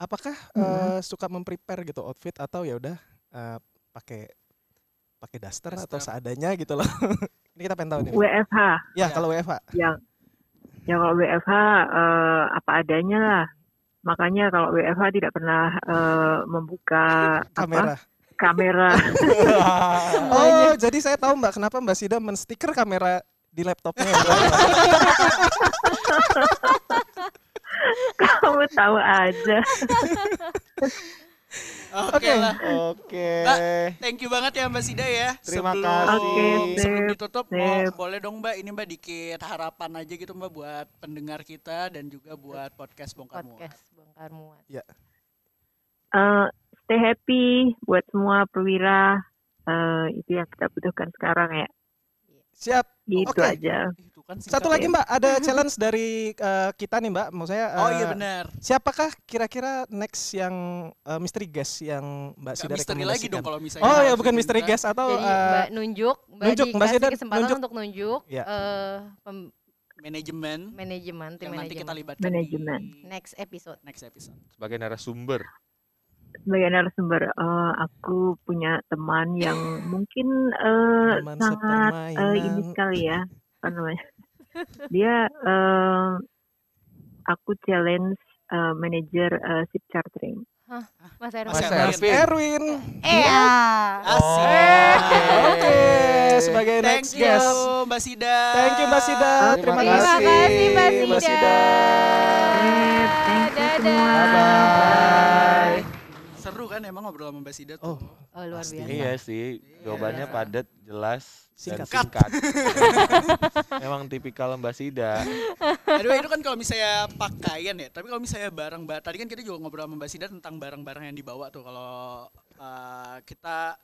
[SPEAKER 3] apakah eh, suka memprepare gitu outfit atau ya udah eh, pakai pakai daster, atau
[SPEAKER 1] Daster.
[SPEAKER 3] seadanya gitu loh. Ini kita pengen tahu nih.
[SPEAKER 6] WFH.
[SPEAKER 1] Ya.
[SPEAKER 3] Ya, kalau WFH.
[SPEAKER 6] yang yang Ya, kalau WFH eh, apa adanya lah makanya kalau WFH tidak pernah eh, membuka apa
[SPEAKER 3] kamera.
[SPEAKER 6] kamera
[SPEAKER 3] Oh, jadi saya tahu Mbak kenapa Mbak Sida menstiker kamera di laptopnya. ya,
[SPEAKER 6] kamu tahu aja
[SPEAKER 1] Oke
[SPEAKER 3] Oke.
[SPEAKER 1] lah.
[SPEAKER 5] Oke.
[SPEAKER 1] Mbak, Thank you banget ya Mbak Sida ya.
[SPEAKER 5] Terima
[SPEAKER 1] Sebelum-
[SPEAKER 5] kasih.
[SPEAKER 6] Oke,
[SPEAKER 1] Sebelum
[SPEAKER 6] sip,
[SPEAKER 1] ditutup mau-
[SPEAKER 6] sip.
[SPEAKER 1] boleh dong Mbak ini Mbak dikit harapan aja gitu Mbak buat pendengar kita dan juga buat podcast Bongkar Muat.
[SPEAKER 4] Podcast bongkar muat.
[SPEAKER 6] Eh, stay happy buat semua perwira Eh, itu yang kita butuhkan sekarang ya
[SPEAKER 3] Siap.
[SPEAKER 6] gitu
[SPEAKER 3] Oke.
[SPEAKER 6] aja
[SPEAKER 1] Itu kan singkat
[SPEAKER 3] Satu
[SPEAKER 1] ya.
[SPEAKER 3] lagi Mbak, ada challenge dari eh, kita nih Mbak. Maksudnya
[SPEAKER 1] Oh iya
[SPEAKER 3] eh,
[SPEAKER 1] benar.
[SPEAKER 3] Siapakah kira-kira next yang eh, mystery guest yang Mbak
[SPEAKER 1] Gak
[SPEAKER 3] Sida
[SPEAKER 1] misteri lagi dong
[SPEAKER 3] rekomendasikan?
[SPEAKER 1] kalau gitu. misalnya.
[SPEAKER 3] Oh ya
[SPEAKER 1] langsung
[SPEAKER 3] bukan mystery
[SPEAKER 1] minta.
[SPEAKER 3] guest atau
[SPEAKER 4] Jadi
[SPEAKER 3] eh,
[SPEAKER 4] mbak nunjuk, mbak
[SPEAKER 3] nunjuk, Mbak
[SPEAKER 4] dikasih
[SPEAKER 3] Sidan,
[SPEAKER 4] kesempatan
[SPEAKER 3] nunjuk.
[SPEAKER 4] untuk nunjuk
[SPEAKER 3] Ya.
[SPEAKER 4] eh, pem-
[SPEAKER 1] manajemen
[SPEAKER 4] manajemen, tim
[SPEAKER 1] yang nanti kita
[SPEAKER 4] manajemen.
[SPEAKER 1] libatkan
[SPEAKER 6] Manajemen.
[SPEAKER 1] di
[SPEAKER 4] Next episode.
[SPEAKER 1] next episode.
[SPEAKER 5] Sebagai narasumber.
[SPEAKER 6] sebagai narasumber eh, aku punya teman yang mungkin eh,
[SPEAKER 3] Teman
[SPEAKER 6] sangat eh, ini
[SPEAKER 3] sepermainan.
[SPEAKER 6] sekali ya apa namanya dia eh, aku challenge eh, manajer eh, sip chartering
[SPEAKER 4] Mas Erwin.
[SPEAKER 1] Mas
[SPEAKER 3] Mas
[SPEAKER 1] Erwin.
[SPEAKER 3] Erwin. Erwin.
[SPEAKER 4] Eh, ah.
[SPEAKER 1] Asik.
[SPEAKER 3] Oke, sebagai
[SPEAKER 1] Thank
[SPEAKER 3] next
[SPEAKER 1] you
[SPEAKER 3] guest.
[SPEAKER 1] Mbak Sida.
[SPEAKER 3] Thank you Mbak Sida. Terima,
[SPEAKER 5] Terima
[SPEAKER 4] Terima
[SPEAKER 3] kasih.
[SPEAKER 4] kasih Mbak
[SPEAKER 3] Mbak
[SPEAKER 4] Sida.
[SPEAKER 3] Sida.
[SPEAKER 6] Eh, thank you semua.
[SPEAKER 4] Dadah.
[SPEAKER 3] Bye.
[SPEAKER 1] Seru seru kan emang ngobrol sama Mbak Sida tuh.
[SPEAKER 3] Oh.
[SPEAKER 4] Oh, luar
[SPEAKER 3] Pasti.
[SPEAKER 4] biasa.
[SPEAKER 5] Iya sih,
[SPEAKER 1] Iya.
[SPEAKER 5] jawabannya padat, jelas,
[SPEAKER 3] Singkat.
[SPEAKER 5] dan singkat. Memang tipikal Mbak Sida.
[SPEAKER 1] Aduh itu kan kalau misalnya pakaian ya, tapi kalau misalnya barang ba- tadi kan kita juga ngobrol sama Mbak Sida tentang barang-barang yang dibawa tuh kalau eh, kita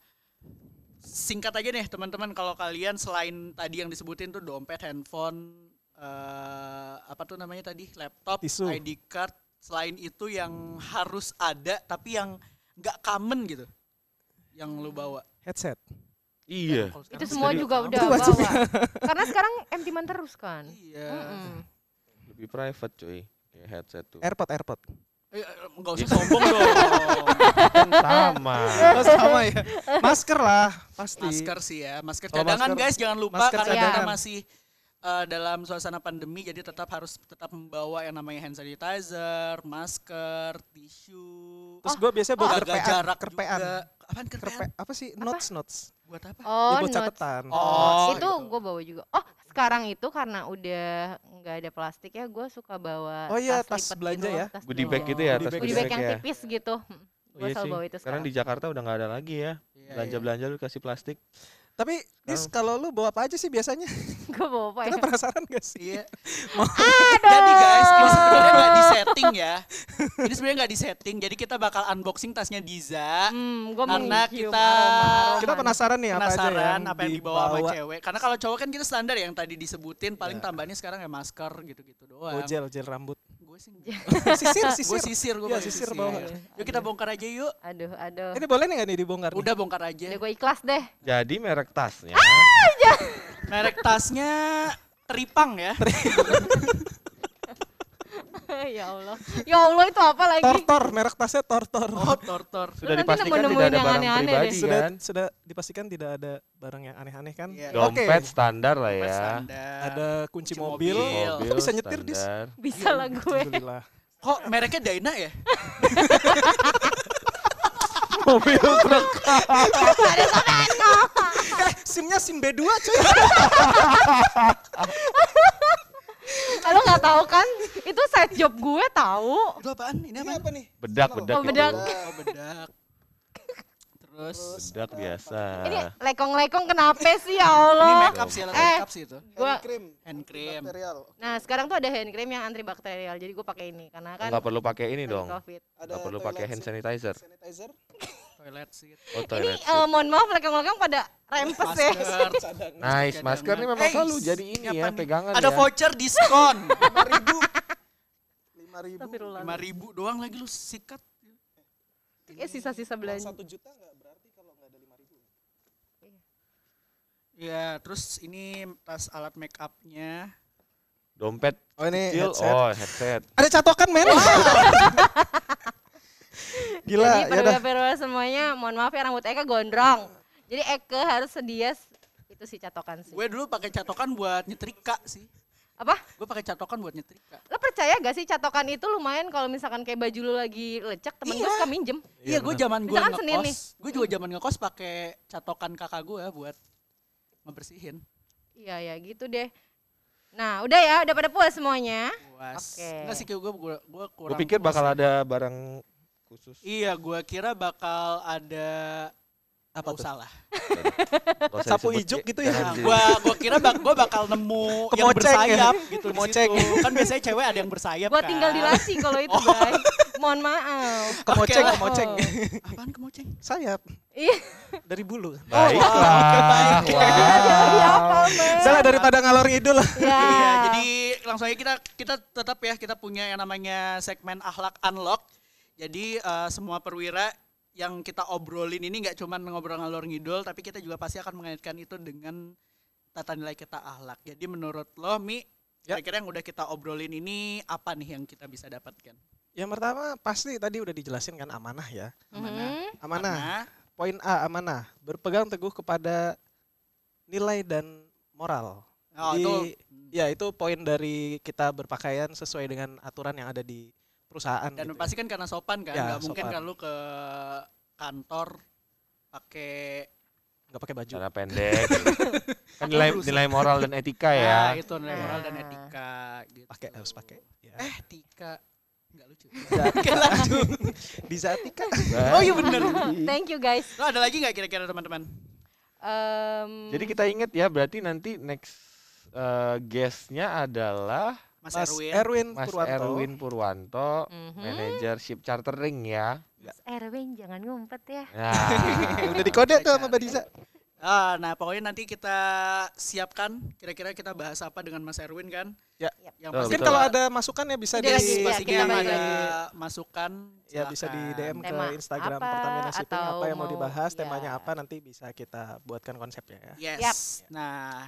[SPEAKER 1] singkat aja deh teman-teman kalau kalian selain tadi yang disebutin tuh dompet, handphone, eh apa tuh namanya tadi laptop,
[SPEAKER 3] Tisu.
[SPEAKER 1] ID card, selain itu yang harus ada tapi yang nggak common gitu yang lu bawa.
[SPEAKER 3] Headset.
[SPEAKER 5] Iya.
[SPEAKER 1] Kalau
[SPEAKER 4] Itu
[SPEAKER 1] sekarang
[SPEAKER 4] semua
[SPEAKER 1] sih
[SPEAKER 4] juga
[SPEAKER 1] common.
[SPEAKER 4] udah bawa. Karena sekarang empty man terus kan.
[SPEAKER 1] Iya.
[SPEAKER 4] Mm-mm.
[SPEAKER 5] Lebih private cuy, kayak headset tuh.
[SPEAKER 3] AirPod, AirPod.
[SPEAKER 1] Eh, eh, nggak usah sombong dong.
[SPEAKER 5] Sama.
[SPEAKER 3] Oh, sama ya. Masker lah, pasti.
[SPEAKER 1] Masker sih ya, masker
[SPEAKER 3] Iya. Kalau
[SPEAKER 1] cadangan
[SPEAKER 3] masker-
[SPEAKER 1] guys jangan lupa
[SPEAKER 3] masker
[SPEAKER 1] karena kita
[SPEAKER 4] cadangan.
[SPEAKER 1] masih eh, dalam suasana pandemi jadi tetap harus tetap membawa yang namanya hand sanitizer, masker, tisu, oh,
[SPEAKER 3] Terus gue biasanya bawa
[SPEAKER 1] jaga
[SPEAKER 3] kerpean,
[SPEAKER 1] jarak
[SPEAKER 3] kerpean.
[SPEAKER 1] juga. Apaan kerpean?
[SPEAKER 3] Kerpe, apa sih? Notes, notes.
[SPEAKER 1] Buat apa?
[SPEAKER 4] Oh,
[SPEAKER 3] Ibu
[SPEAKER 4] notes.
[SPEAKER 3] catatan.
[SPEAKER 1] Oh,
[SPEAKER 4] itu
[SPEAKER 1] gitu.
[SPEAKER 4] gue bawa juga. Oh, sekarang itu karena udah nggak ada plastik ya, gue suka bawa
[SPEAKER 3] Oh iya, tas
[SPEAKER 4] lipat
[SPEAKER 3] belanja
[SPEAKER 4] gitu,
[SPEAKER 3] ya.
[SPEAKER 4] tas
[SPEAKER 5] Goodie
[SPEAKER 4] belanja.
[SPEAKER 5] bag gitu ya,
[SPEAKER 3] Goodie
[SPEAKER 5] tas
[SPEAKER 3] bag.
[SPEAKER 4] Goodie
[SPEAKER 5] goodie
[SPEAKER 4] bag
[SPEAKER 5] bag
[SPEAKER 4] yang
[SPEAKER 5] ya.
[SPEAKER 4] tipis gitu. Gue
[SPEAKER 5] Iya
[SPEAKER 4] selalu
[SPEAKER 5] sih.
[SPEAKER 4] bawa itu
[SPEAKER 5] Sekarang
[SPEAKER 4] sekarang.
[SPEAKER 5] di Jakarta udah nggak ada lagi ya.
[SPEAKER 1] Iya, iya.
[SPEAKER 5] Belanja-belanja lu kasih plastik.
[SPEAKER 3] Tapi
[SPEAKER 1] Oh.
[SPEAKER 3] Dis, kalau lu bawa apa aja sih biasanya?
[SPEAKER 4] Gue bawa apa ya?
[SPEAKER 3] Kita penasaran gak sih?
[SPEAKER 1] Iya. Jadi guys, ini sebenarnya nggak di setting ya. Ini sebenarnya nggak di setting. Jadi kita bakal unboxing tasnya Diza.
[SPEAKER 4] Hmm, gue
[SPEAKER 1] Karena kita-
[SPEAKER 3] Kita penasaran nih apa aja
[SPEAKER 1] penasaran
[SPEAKER 3] yang
[SPEAKER 1] apa yang dibawa sama cewek. Karena kalau cowok kan kita standar yang tadi disebutin paling tambahannya sekarang ya masker gitu-gitu doang.
[SPEAKER 3] Oh, gel, gel rambut. Eh,
[SPEAKER 1] Gue sih
[SPEAKER 3] sisir,
[SPEAKER 1] gue
[SPEAKER 3] sisir.
[SPEAKER 1] sisir, gue
[SPEAKER 3] Iya, sisir bawa.
[SPEAKER 1] Yuk kita bongkar aja yuk.
[SPEAKER 4] Aduh, aduh.
[SPEAKER 3] Ini boleh nggak nih dibongkar? nih?
[SPEAKER 1] Udah bongkar aja.
[SPEAKER 4] Udah gue ikhlas deh.
[SPEAKER 5] Jadi merek ya. tasnya.
[SPEAKER 1] Merek tasnya Tripang ya.
[SPEAKER 4] ya Allah. Ya Allah itu apa lagi?
[SPEAKER 3] Tortor, merek tasnya Tortor.
[SPEAKER 1] Oh, iya. Tortor.
[SPEAKER 5] Sudah
[SPEAKER 4] Nanti
[SPEAKER 5] dipastikan tidak
[SPEAKER 4] nemu-nemuin
[SPEAKER 5] ada
[SPEAKER 4] yang
[SPEAKER 5] barang
[SPEAKER 4] aneh-aneh deh.
[SPEAKER 5] pribadi
[SPEAKER 3] sudah
[SPEAKER 5] kan.
[SPEAKER 3] sudah dipastikan tidak ada barang yang aneh-aneh kan?
[SPEAKER 1] Iya.
[SPEAKER 3] Oke.
[SPEAKER 5] Dompet standar lah ya.
[SPEAKER 1] Ada.
[SPEAKER 3] Ada kunci,
[SPEAKER 1] Kunci
[SPEAKER 3] mobil.
[SPEAKER 1] mobil.
[SPEAKER 3] Kok Iya. bisa nyetir Dis?
[SPEAKER 5] standar.
[SPEAKER 4] Bisa lah
[SPEAKER 3] Iya.
[SPEAKER 4] gue.
[SPEAKER 3] Alhamdulillah.
[SPEAKER 1] Kok mereknya Daina ya?
[SPEAKER 5] Mobil truk.
[SPEAKER 3] Eh, SIM-nya SIM B2 cuy.
[SPEAKER 4] Lo nggak tahu kan? Itu side job gue tahu.
[SPEAKER 1] Itu apaan? Ini
[SPEAKER 3] Ini
[SPEAKER 1] apaan?
[SPEAKER 3] apa nih?
[SPEAKER 5] Bedak-bedak.
[SPEAKER 4] Oh,
[SPEAKER 5] itu.
[SPEAKER 4] bedak.
[SPEAKER 1] Oh, bedak. Terus
[SPEAKER 5] Bedak biasa.
[SPEAKER 4] Ini lekong-lekong kenapa sih ya Allah?
[SPEAKER 1] ini makeup sih, alat
[SPEAKER 4] Eh.
[SPEAKER 1] makeup sih itu.
[SPEAKER 4] Gua-
[SPEAKER 2] Hand cream.
[SPEAKER 1] Hand cream.
[SPEAKER 2] Material.
[SPEAKER 4] Nah sekarang tuh ada hand cream yang antibakterial, jadi gue pakai ini karena kan
[SPEAKER 5] Enggak perlu pakai ini
[SPEAKER 4] anti
[SPEAKER 5] dong.
[SPEAKER 4] COVID.
[SPEAKER 2] Ada
[SPEAKER 5] Enggak perlu pakai hand
[SPEAKER 2] toilet
[SPEAKER 5] sanitizer.
[SPEAKER 2] sanitizer.
[SPEAKER 1] Toilet sih.
[SPEAKER 5] Oh,
[SPEAKER 4] Ini
[SPEAKER 5] toilet.
[SPEAKER 4] eh, mohon maaf lekong-lekong pada rempes ya.
[SPEAKER 1] Masker.
[SPEAKER 2] Cadangan.
[SPEAKER 5] Nice,
[SPEAKER 1] Cadangan.
[SPEAKER 5] masker ini memang
[SPEAKER 1] Eh,
[SPEAKER 5] selalu jadi ini
[SPEAKER 1] siapa
[SPEAKER 5] ya,
[SPEAKER 1] nih?
[SPEAKER 5] pegangan
[SPEAKER 1] Ada
[SPEAKER 5] ya.
[SPEAKER 1] voucher diskon.
[SPEAKER 2] Lima ribu. Lima ribu.
[SPEAKER 4] Astagfirullah.
[SPEAKER 1] 5000 doang lagi lu sikat.
[SPEAKER 4] Eh sisa-sisa belanja.
[SPEAKER 2] Satu juta nggak berarti kalau nggak ada lima ribu.
[SPEAKER 1] Ya, terus ini tas alat make up-nya.
[SPEAKER 5] Dompet
[SPEAKER 3] Oh ini
[SPEAKER 5] kecil,
[SPEAKER 3] headset.
[SPEAKER 5] oh headset.
[SPEAKER 3] Ada catokan men. Gila, ya
[SPEAKER 4] jadi
[SPEAKER 1] iya
[SPEAKER 3] udah.
[SPEAKER 4] perwira-perwira semuanya, mohon maaf ya rambut Eka gondrong. Jadi Eka harus sedia s- itu sih catokan sih.
[SPEAKER 1] Gue dulu pakai catokan buat nyetrika sih.
[SPEAKER 4] Apa?
[SPEAKER 1] Gue pakai catokan buat nyetrika.
[SPEAKER 4] Lo percaya gak sih catokan itu lumayan kalau misalkan kayak baju lu lagi lecek temen gue
[SPEAKER 1] Iya.
[SPEAKER 4] suka minjem.
[SPEAKER 1] Iya, gue zaman gue
[SPEAKER 4] Misalkan Senin nih.
[SPEAKER 1] ngekos, gue juga zaman ngekos pakai catokan kakak gue buat ngebersihin.
[SPEAKER 4] Iya ya gitu deh. Nah udah ya, udah pada puas semuanya.
[SPEAKER 1] Puas.
[SPEAKER 4] Oke.
[SPEAKER 1] Enggak sih, gue gue gue kurang.
[SPEAKER 5] Gue pikir
[SPEAKER 1] puas
[SPEAKER 5] bakal
[SPEAKER 1] ya.
[SPEAKER 5] ada barang khusus.
[SPEAKER 1] Iya, gue kira bakal ada apa
[SPEAKER 3] tuh?
[SPEAKER 1] salah.
[SPEAKER 5] Nggak usah
[SPEAKER 3] Sapu
[SPEAKER 5] disebut,
[SPEAKER 3] ijuk
[SPEAKER 5] Ki.
[SPEAKER 3] gitu ya?
[SPEAKER 5] Jangan
[SPEAKER 1] Nah,
[SPEAKER 5] di-
[SPEAKER 1] gue gue kira bak gue bakal nemu yang
[SPEAKER 3] Kemoceng ya?
[SPEAKER 1] bersayap gitu di
[SPEAKER 3] Kemoceng.
[SPEAKER 1] situ. Kan biasanya cewek ada yang bersayap
[SPEAKER 4] Gue
[SPEAKER 1] kan.
[SPEAKER 4] tinggal di laci kalau itu guys. Mohon maaf.
[SPEAKER 3] Kemoceng,
[SPEAKER 1] lah.
[SPEAKER 3] kemoceng.
[SPEAKER 1] Apaan kemoceng?
[SPEAKER 3] Sayap
[SPEAKER 4] Iya.
[SPEAKER 3] dari bulu.
[SPEAKER 5] Baiklah.
[SPEAKER 4] iya.
[SPEAKER 5] Wow.
[SPEAKER 3] Salah daripada ngalor ngidul.
[SPEAKER 1] Iya,
[SPEAKER 4] Ya.
[SPEAKER 1] jadi langsung aja kita kita tetap ya kita punya yang namanya segmen akhlak unlock. Jadi eh, semua perwira yang kita obrolin ini nggak cuma ngobrol ngalor ngidul, tapi kita juga pasti akan mengaitkan itu dengan tata nilai kita akhlak. Jadi menurut lo, Mi,
[SPEAKER 3] Ya.
[SPEAKER 1] kira-kira yang udah kita obrolin ini apa nih yang kita bisa dapatkan?
[SPEAKER 3] Yang pertama pasti tadi udah dijelasin kan amanah ya.
[SPEAKER 4] Mhm.
[SPEAKER 3] Amanah.
[SPEAKER 1] Karena
[SPEAKER 3] Poin A amanah, berpegang teguh kepada nilai dan moral.
[SPEAKER 1] Oh,
[SPEAKER 3] Jadi,
[SPEAKER 1] itu
[SPEAKER 3] Ya itu poin dari kita berpakaian sesuai dengan aturan yang ada di perusahaan.
[SPEAKER 1] dan
[SPEAKER 3] gitu ya.
[SPEAKER 1] pasti kan karena sopan kan,
[SPEAKER 3] Ya,
[SPEAKER 1] nggak mungkin
[SPEAKER 3] sopan.
[SPEAKER 1] kan lu ke kantor pakai
[SPEAKER 3] nggak pakai baju.
[SPEAKER 5] Cara pendek. Kan nilai, nilai moral dan etika ya.
[SPEAKER 1] Nah,
[SPEAKER 3] Ya.
[SPEAKER 1] Ah, itu nilai moral dan
[SPEAKER 4] Nah.
[SPEAKER 1] etika gitu.
[SPEAKER 3] Pakai harus pakai. Ya.
[SPEAKER 1] Eh, Tika. Enggak lucu.
[SPEAKER 2] Zat-
[SPEAKER 1] Oke, lanjut.
[SPEAKER 2] di Zatika
[SPEAKER 1] Oh iya bener.
[SPEAKER 4] Thank you guys.
[SPEAKER 1] Lo ada lagi nggak kira-kira teman-teman?
[SPEAKER 4] Em,
[SPEAKER 5] Jadi kita ingat ya berarti nanti next eh, guestnya adalah
[SPEAKER 1] Mas,
[SPEAKER 2] Mas Er-
[SPEAKER 1] Erwin.
[SPEAKER 2] Erwin
[SPEAKER 5] Mas
[SPEAKER 2] Purwanto
[SPEAKER 5] Erwin Purwanto,
[SPEAKER 4] mhm.
[SPEAKER 5] manager ship chartering ya.
[SPEAKER 4] Mas Erwin jangan ngumpet ya.
[SPEAKER 5] Nah,
[SPEAKER 2] udah dikode tuh sama Mbak Diza
[SPEAKER 1] Ah, nah pokoknya nanti kita siapkan kira-kira kita bahas apa dengan Mas Erwin kan?
[SPEAKER 2] Ya.
[SPEAKER 5] Betul,
[SPEAKER 1] Yang pasti
[SPEAKER 2] mungkin
[SPEAKER 5] betul.
[SPEAKER 2] kalau ada masukannya bisa
[SPEAKER 4] Ide
[SPEAKER 2] di
[SPEAKER 4] lagi, ya,
[SPEAKER 1] pastinya
[SPEAKER 4] kita
[SPEAKER 1] yang
[SPEAKER 4] balik
[SPEAKER 1] ada
[SPEAKER 4] lagi.
[SPEAKER 1] masukan
[SPEAKER 2] ya bisa di
[SPEAKER 1] silakan.
[SPEAKER 2] DM ke
[SPEAKER 4] Tema
[SPEAKER 2] Instagram
[SPEAKER 4] apa,
[SPEAKER 2] Pertamina Shipping
[SPEAKER 4] atau
[SPEAKER 2] apa yang mau
[SPEAKER 4] mau-
[SPEAKER 2] dibahas
[SPEAKER 4] ya.
[SPEAKER 2] temanya apa nanti bisa kita buatkan konsepnya ya
[SPEAKER 1] Yes.
[SPEAKER 4] Yap.
[SPEAKER 1] Nah,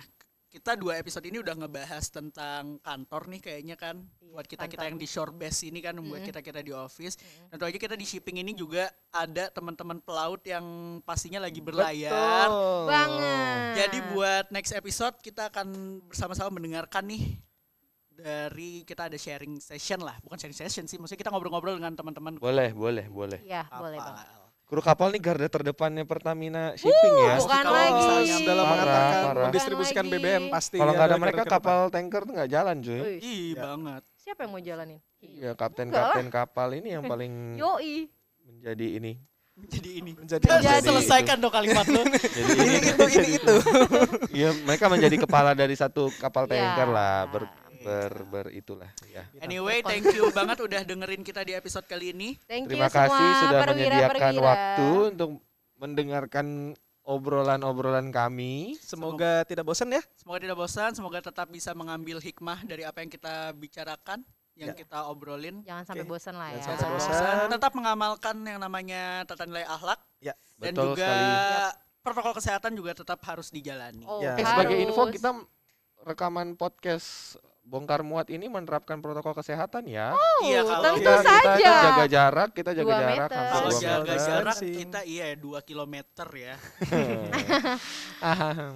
[SPEAKER 1] kita dua episode ini udah ngebahas tentang kantor nih kayaknya kan
[SPEAKER 4] Iya,
[SPEAKER 1] buat kita-kita
[SPEAKER 4] kantor.
[SPEAKER 1] yang di shore base ini kan buat
[SPEAKER 4] Mm-mm.
[SPEAKER 1] kita-kita di office.
[SPEAKER 4] Mm-mm.
[SPEAKER 1] Tentu aja kita di shipping ini juga ada teman-teman pelaut yang pastinya lagi berlayar.
[SPEAKER 4] Banget.
[SPEAKER 1] Jadi buat next episode kita akan bersama-sama mendengarkan nih dari kita ada sharing session lah, bukan sharing session sih, maksudnya kita ngobrol-ngobrol dengan teman-teman
[SPEAKER 5] boleh, boleh, boleh.
[SPEAKER 4] Iya,
[SPEAKER 1] kapal.
[SPEAKER 4] boleh banget.
[SPEAKER 5] Kru kapal nih garda terdepannya Pertamina shipping ya.
[SPEAKER 4] bukan
[SPEAKER 1] Kalau
[SPEAKER 4] lagi.
[SPEAKER 1] misalnya
[SPEAKER 2] dalam
[SPEAKER 5] Parah,
[SPEAKER 2] mengantarkan
[SPEAKER 5] parah.
[SPEAKER 2] mendistribusikan
[SPEAKER 4] Bukan lagi.
[SPEAKER 2] BBM
[SPEAKER 3] Iya,
[SPEAKER 2] pasti
[SPEAKER 5] Kalau
[SPEAKER 2] ya,
[SPEAKER 5] nggak ada
[SPEAKER 2] dari
[SPEAKER 5] mereka
[SPEAKER 2] garda terdepan.
[SPEAKER 5] kapal tanker tuh nggak jalan cuy.
[SPEAKER 4] Wih,
[SPEAKER 1] Ih,
[SPEAKER 2] Ya.
[SPEAKER 1] banget.
[SPEAKER 4] siapa yang mau jalanin?
[SPEAKER 5] Ya kapten-kapten kapal ini yang paling
[SPEAKER 4] Yoi.
[SPEAKER 5] menjadi ini.
[SPEAKER 1] Jadi ini.
[SPEAKER 2] menjadi
[SPEAKER 4] Iya,
[SPEAKER 1] Dan
[SPEAKER 5] Jadi
[SPEAKER 1] selesaikan dong kalimat lu.
[SPEAKER 5] Jadi ini
[SPEAKER 2] itu ini itu
[SPEAKER 5] ya mereka menjadi kepala dari satu kapal
[SPEAKER 4] Ya.
[SPEAKER 5] tanker lah ber ber ber itulah ya.
[SPEAKER 1] Anyway, thank you banget udah dengerin kita di episode kali ini.
[SPEAKER 4] Thank
[SPEAKER 5] Terima
[SPEAKER 4] you semua
[SPEAKER 5] kasih sudah
[SPEAKER 4] perwira-perwira.
[SPEAKER 5] menyediakan waktu untuk mendengarkan obrolan-obrolan kami.
[SPEAKER 2] semoga tidak bosan ya
[SPEAKER 1] Semoga tidak bosan, semoga tetap bisa mengambil hikmah dari apa yang kita bicarakan,
[SPEAKER 5] Ya.
[SPEAKER 1] yang kita obrolin.
[SPEAKER 4] Jangan sampai
[SPEAKER 2] Oke.
[SPEAKER 4] bosan lah ya.
[SPEAKER 2] Jangan
[SPEAKER 1] Jangan
[SPEAKER 2] sampai bosan.
[SPEAKER 1] tetap mengamalkan yang namanya tata nilai akhlak dan
[SPEAKER 5] Betul
[SPEAKER 1] juga
[SPEAKER 5] sekali.
[SPEAKER 1] protokol kesehatan juga tetap harus dijalani.
[SPEAKER 4] Oh,
[SPEAKER 2] Ya.
[SPEAKER 5] Eh, sebagai info
[SPEAKER 4] harus.
[SPEAKER 5] kita rekaman podcast bongkar muat ini menerapkan protokol kesehatan ya.
[SPEAKER 1] Iya,
[SPEAKER 4] Oh,
[SPEAKER 1] kalau
[SPEAKER 4] tentu
[SPEAKER 5] kita, kita
[SPEAKER 4] saja.
[SPEAKER 5] tuh jaga jarak, kita jaga
[SPEAKER 4] Dua
[SPEAKER 5] jarak
[SPEAKER 4] meter.
[SPEAKER 5] hampir
[SPEAKER 1] Kalau
[SPEAKER 5] dua
[SPEAKER 1] Oh, jaga
[SPEAKER 4] kan?
[SPEAKER 5] meter.
[SPEAKER 1] jarak
[SPEAKER 2] Distancing.
[SPEAKER 1] kita iya 2 kilometer ya.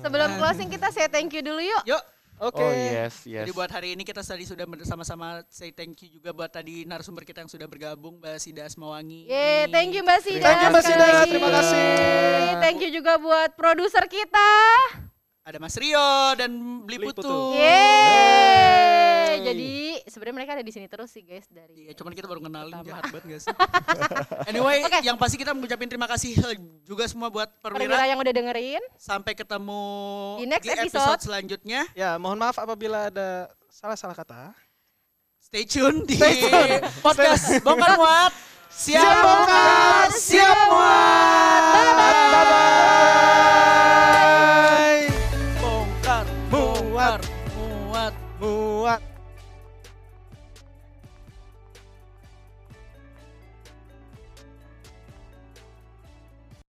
[SPEAKER 4] Sebelum closing kita say thank you dulu yuk.
[SPEAKER 2] oke
[SPEAKER 5] Oh yes, yes.
[SPEAKER 1] Jadi buat hari ini kita tadi sudah bersama-sama say thank you juga buat tadi narasumber kita yang sudah bergabung Mbak Sida Asmawangi.
[SPEAKER 4] Yeay, thank you Mbak Sida.
[SPEAKER 2] Iya. Thank you, Mbak
[SPEAKER 4] sekali
[SPEAKER 2] Sida.
[SPEAKER 4] lagi.
[SPEAKER 2] Terima kasih.
[SPEAKER 4] Thank you juga buat produser kita.
[SPEAKER 1] Ada Mas Rio dan Bliputu.
[SPEAKER 2] Bliputu.
[SPEAKER 4] Yeay. Jadi sebenarnya mereka ada di sini terus sih guys dari
[SPEAKER 1] Iya, cuman kita baru kenalin
[SPEAKER 4] Pertama.
[SPEAKER 1] jahat banget gak sih? anyway,
[SPEAKER 4] Oke.
[SPEAKER 1] yang pasti kita mengucapin terima kasih juga semua buat
[SPEAKER 4] perwira
[SPEAKER 1] perwira.
[SPEAKER 4] yang udah dengerin.
[SPEAKER 1] Sampai ketemu
[SPEAKER 4] Di next episode.
[SPEAKER 1] selanjutnya.
[SPEAKER 2] ya mohon maaf apabila ada salah-salah kata
[SPEAKER 1] Stay tune di podcast Bongkar Muat.
[SPEAKER 4] Ya,
[SPEAKER 1] Siap bongkar, siap muat.
[SPEAKER 4] Bye-bye.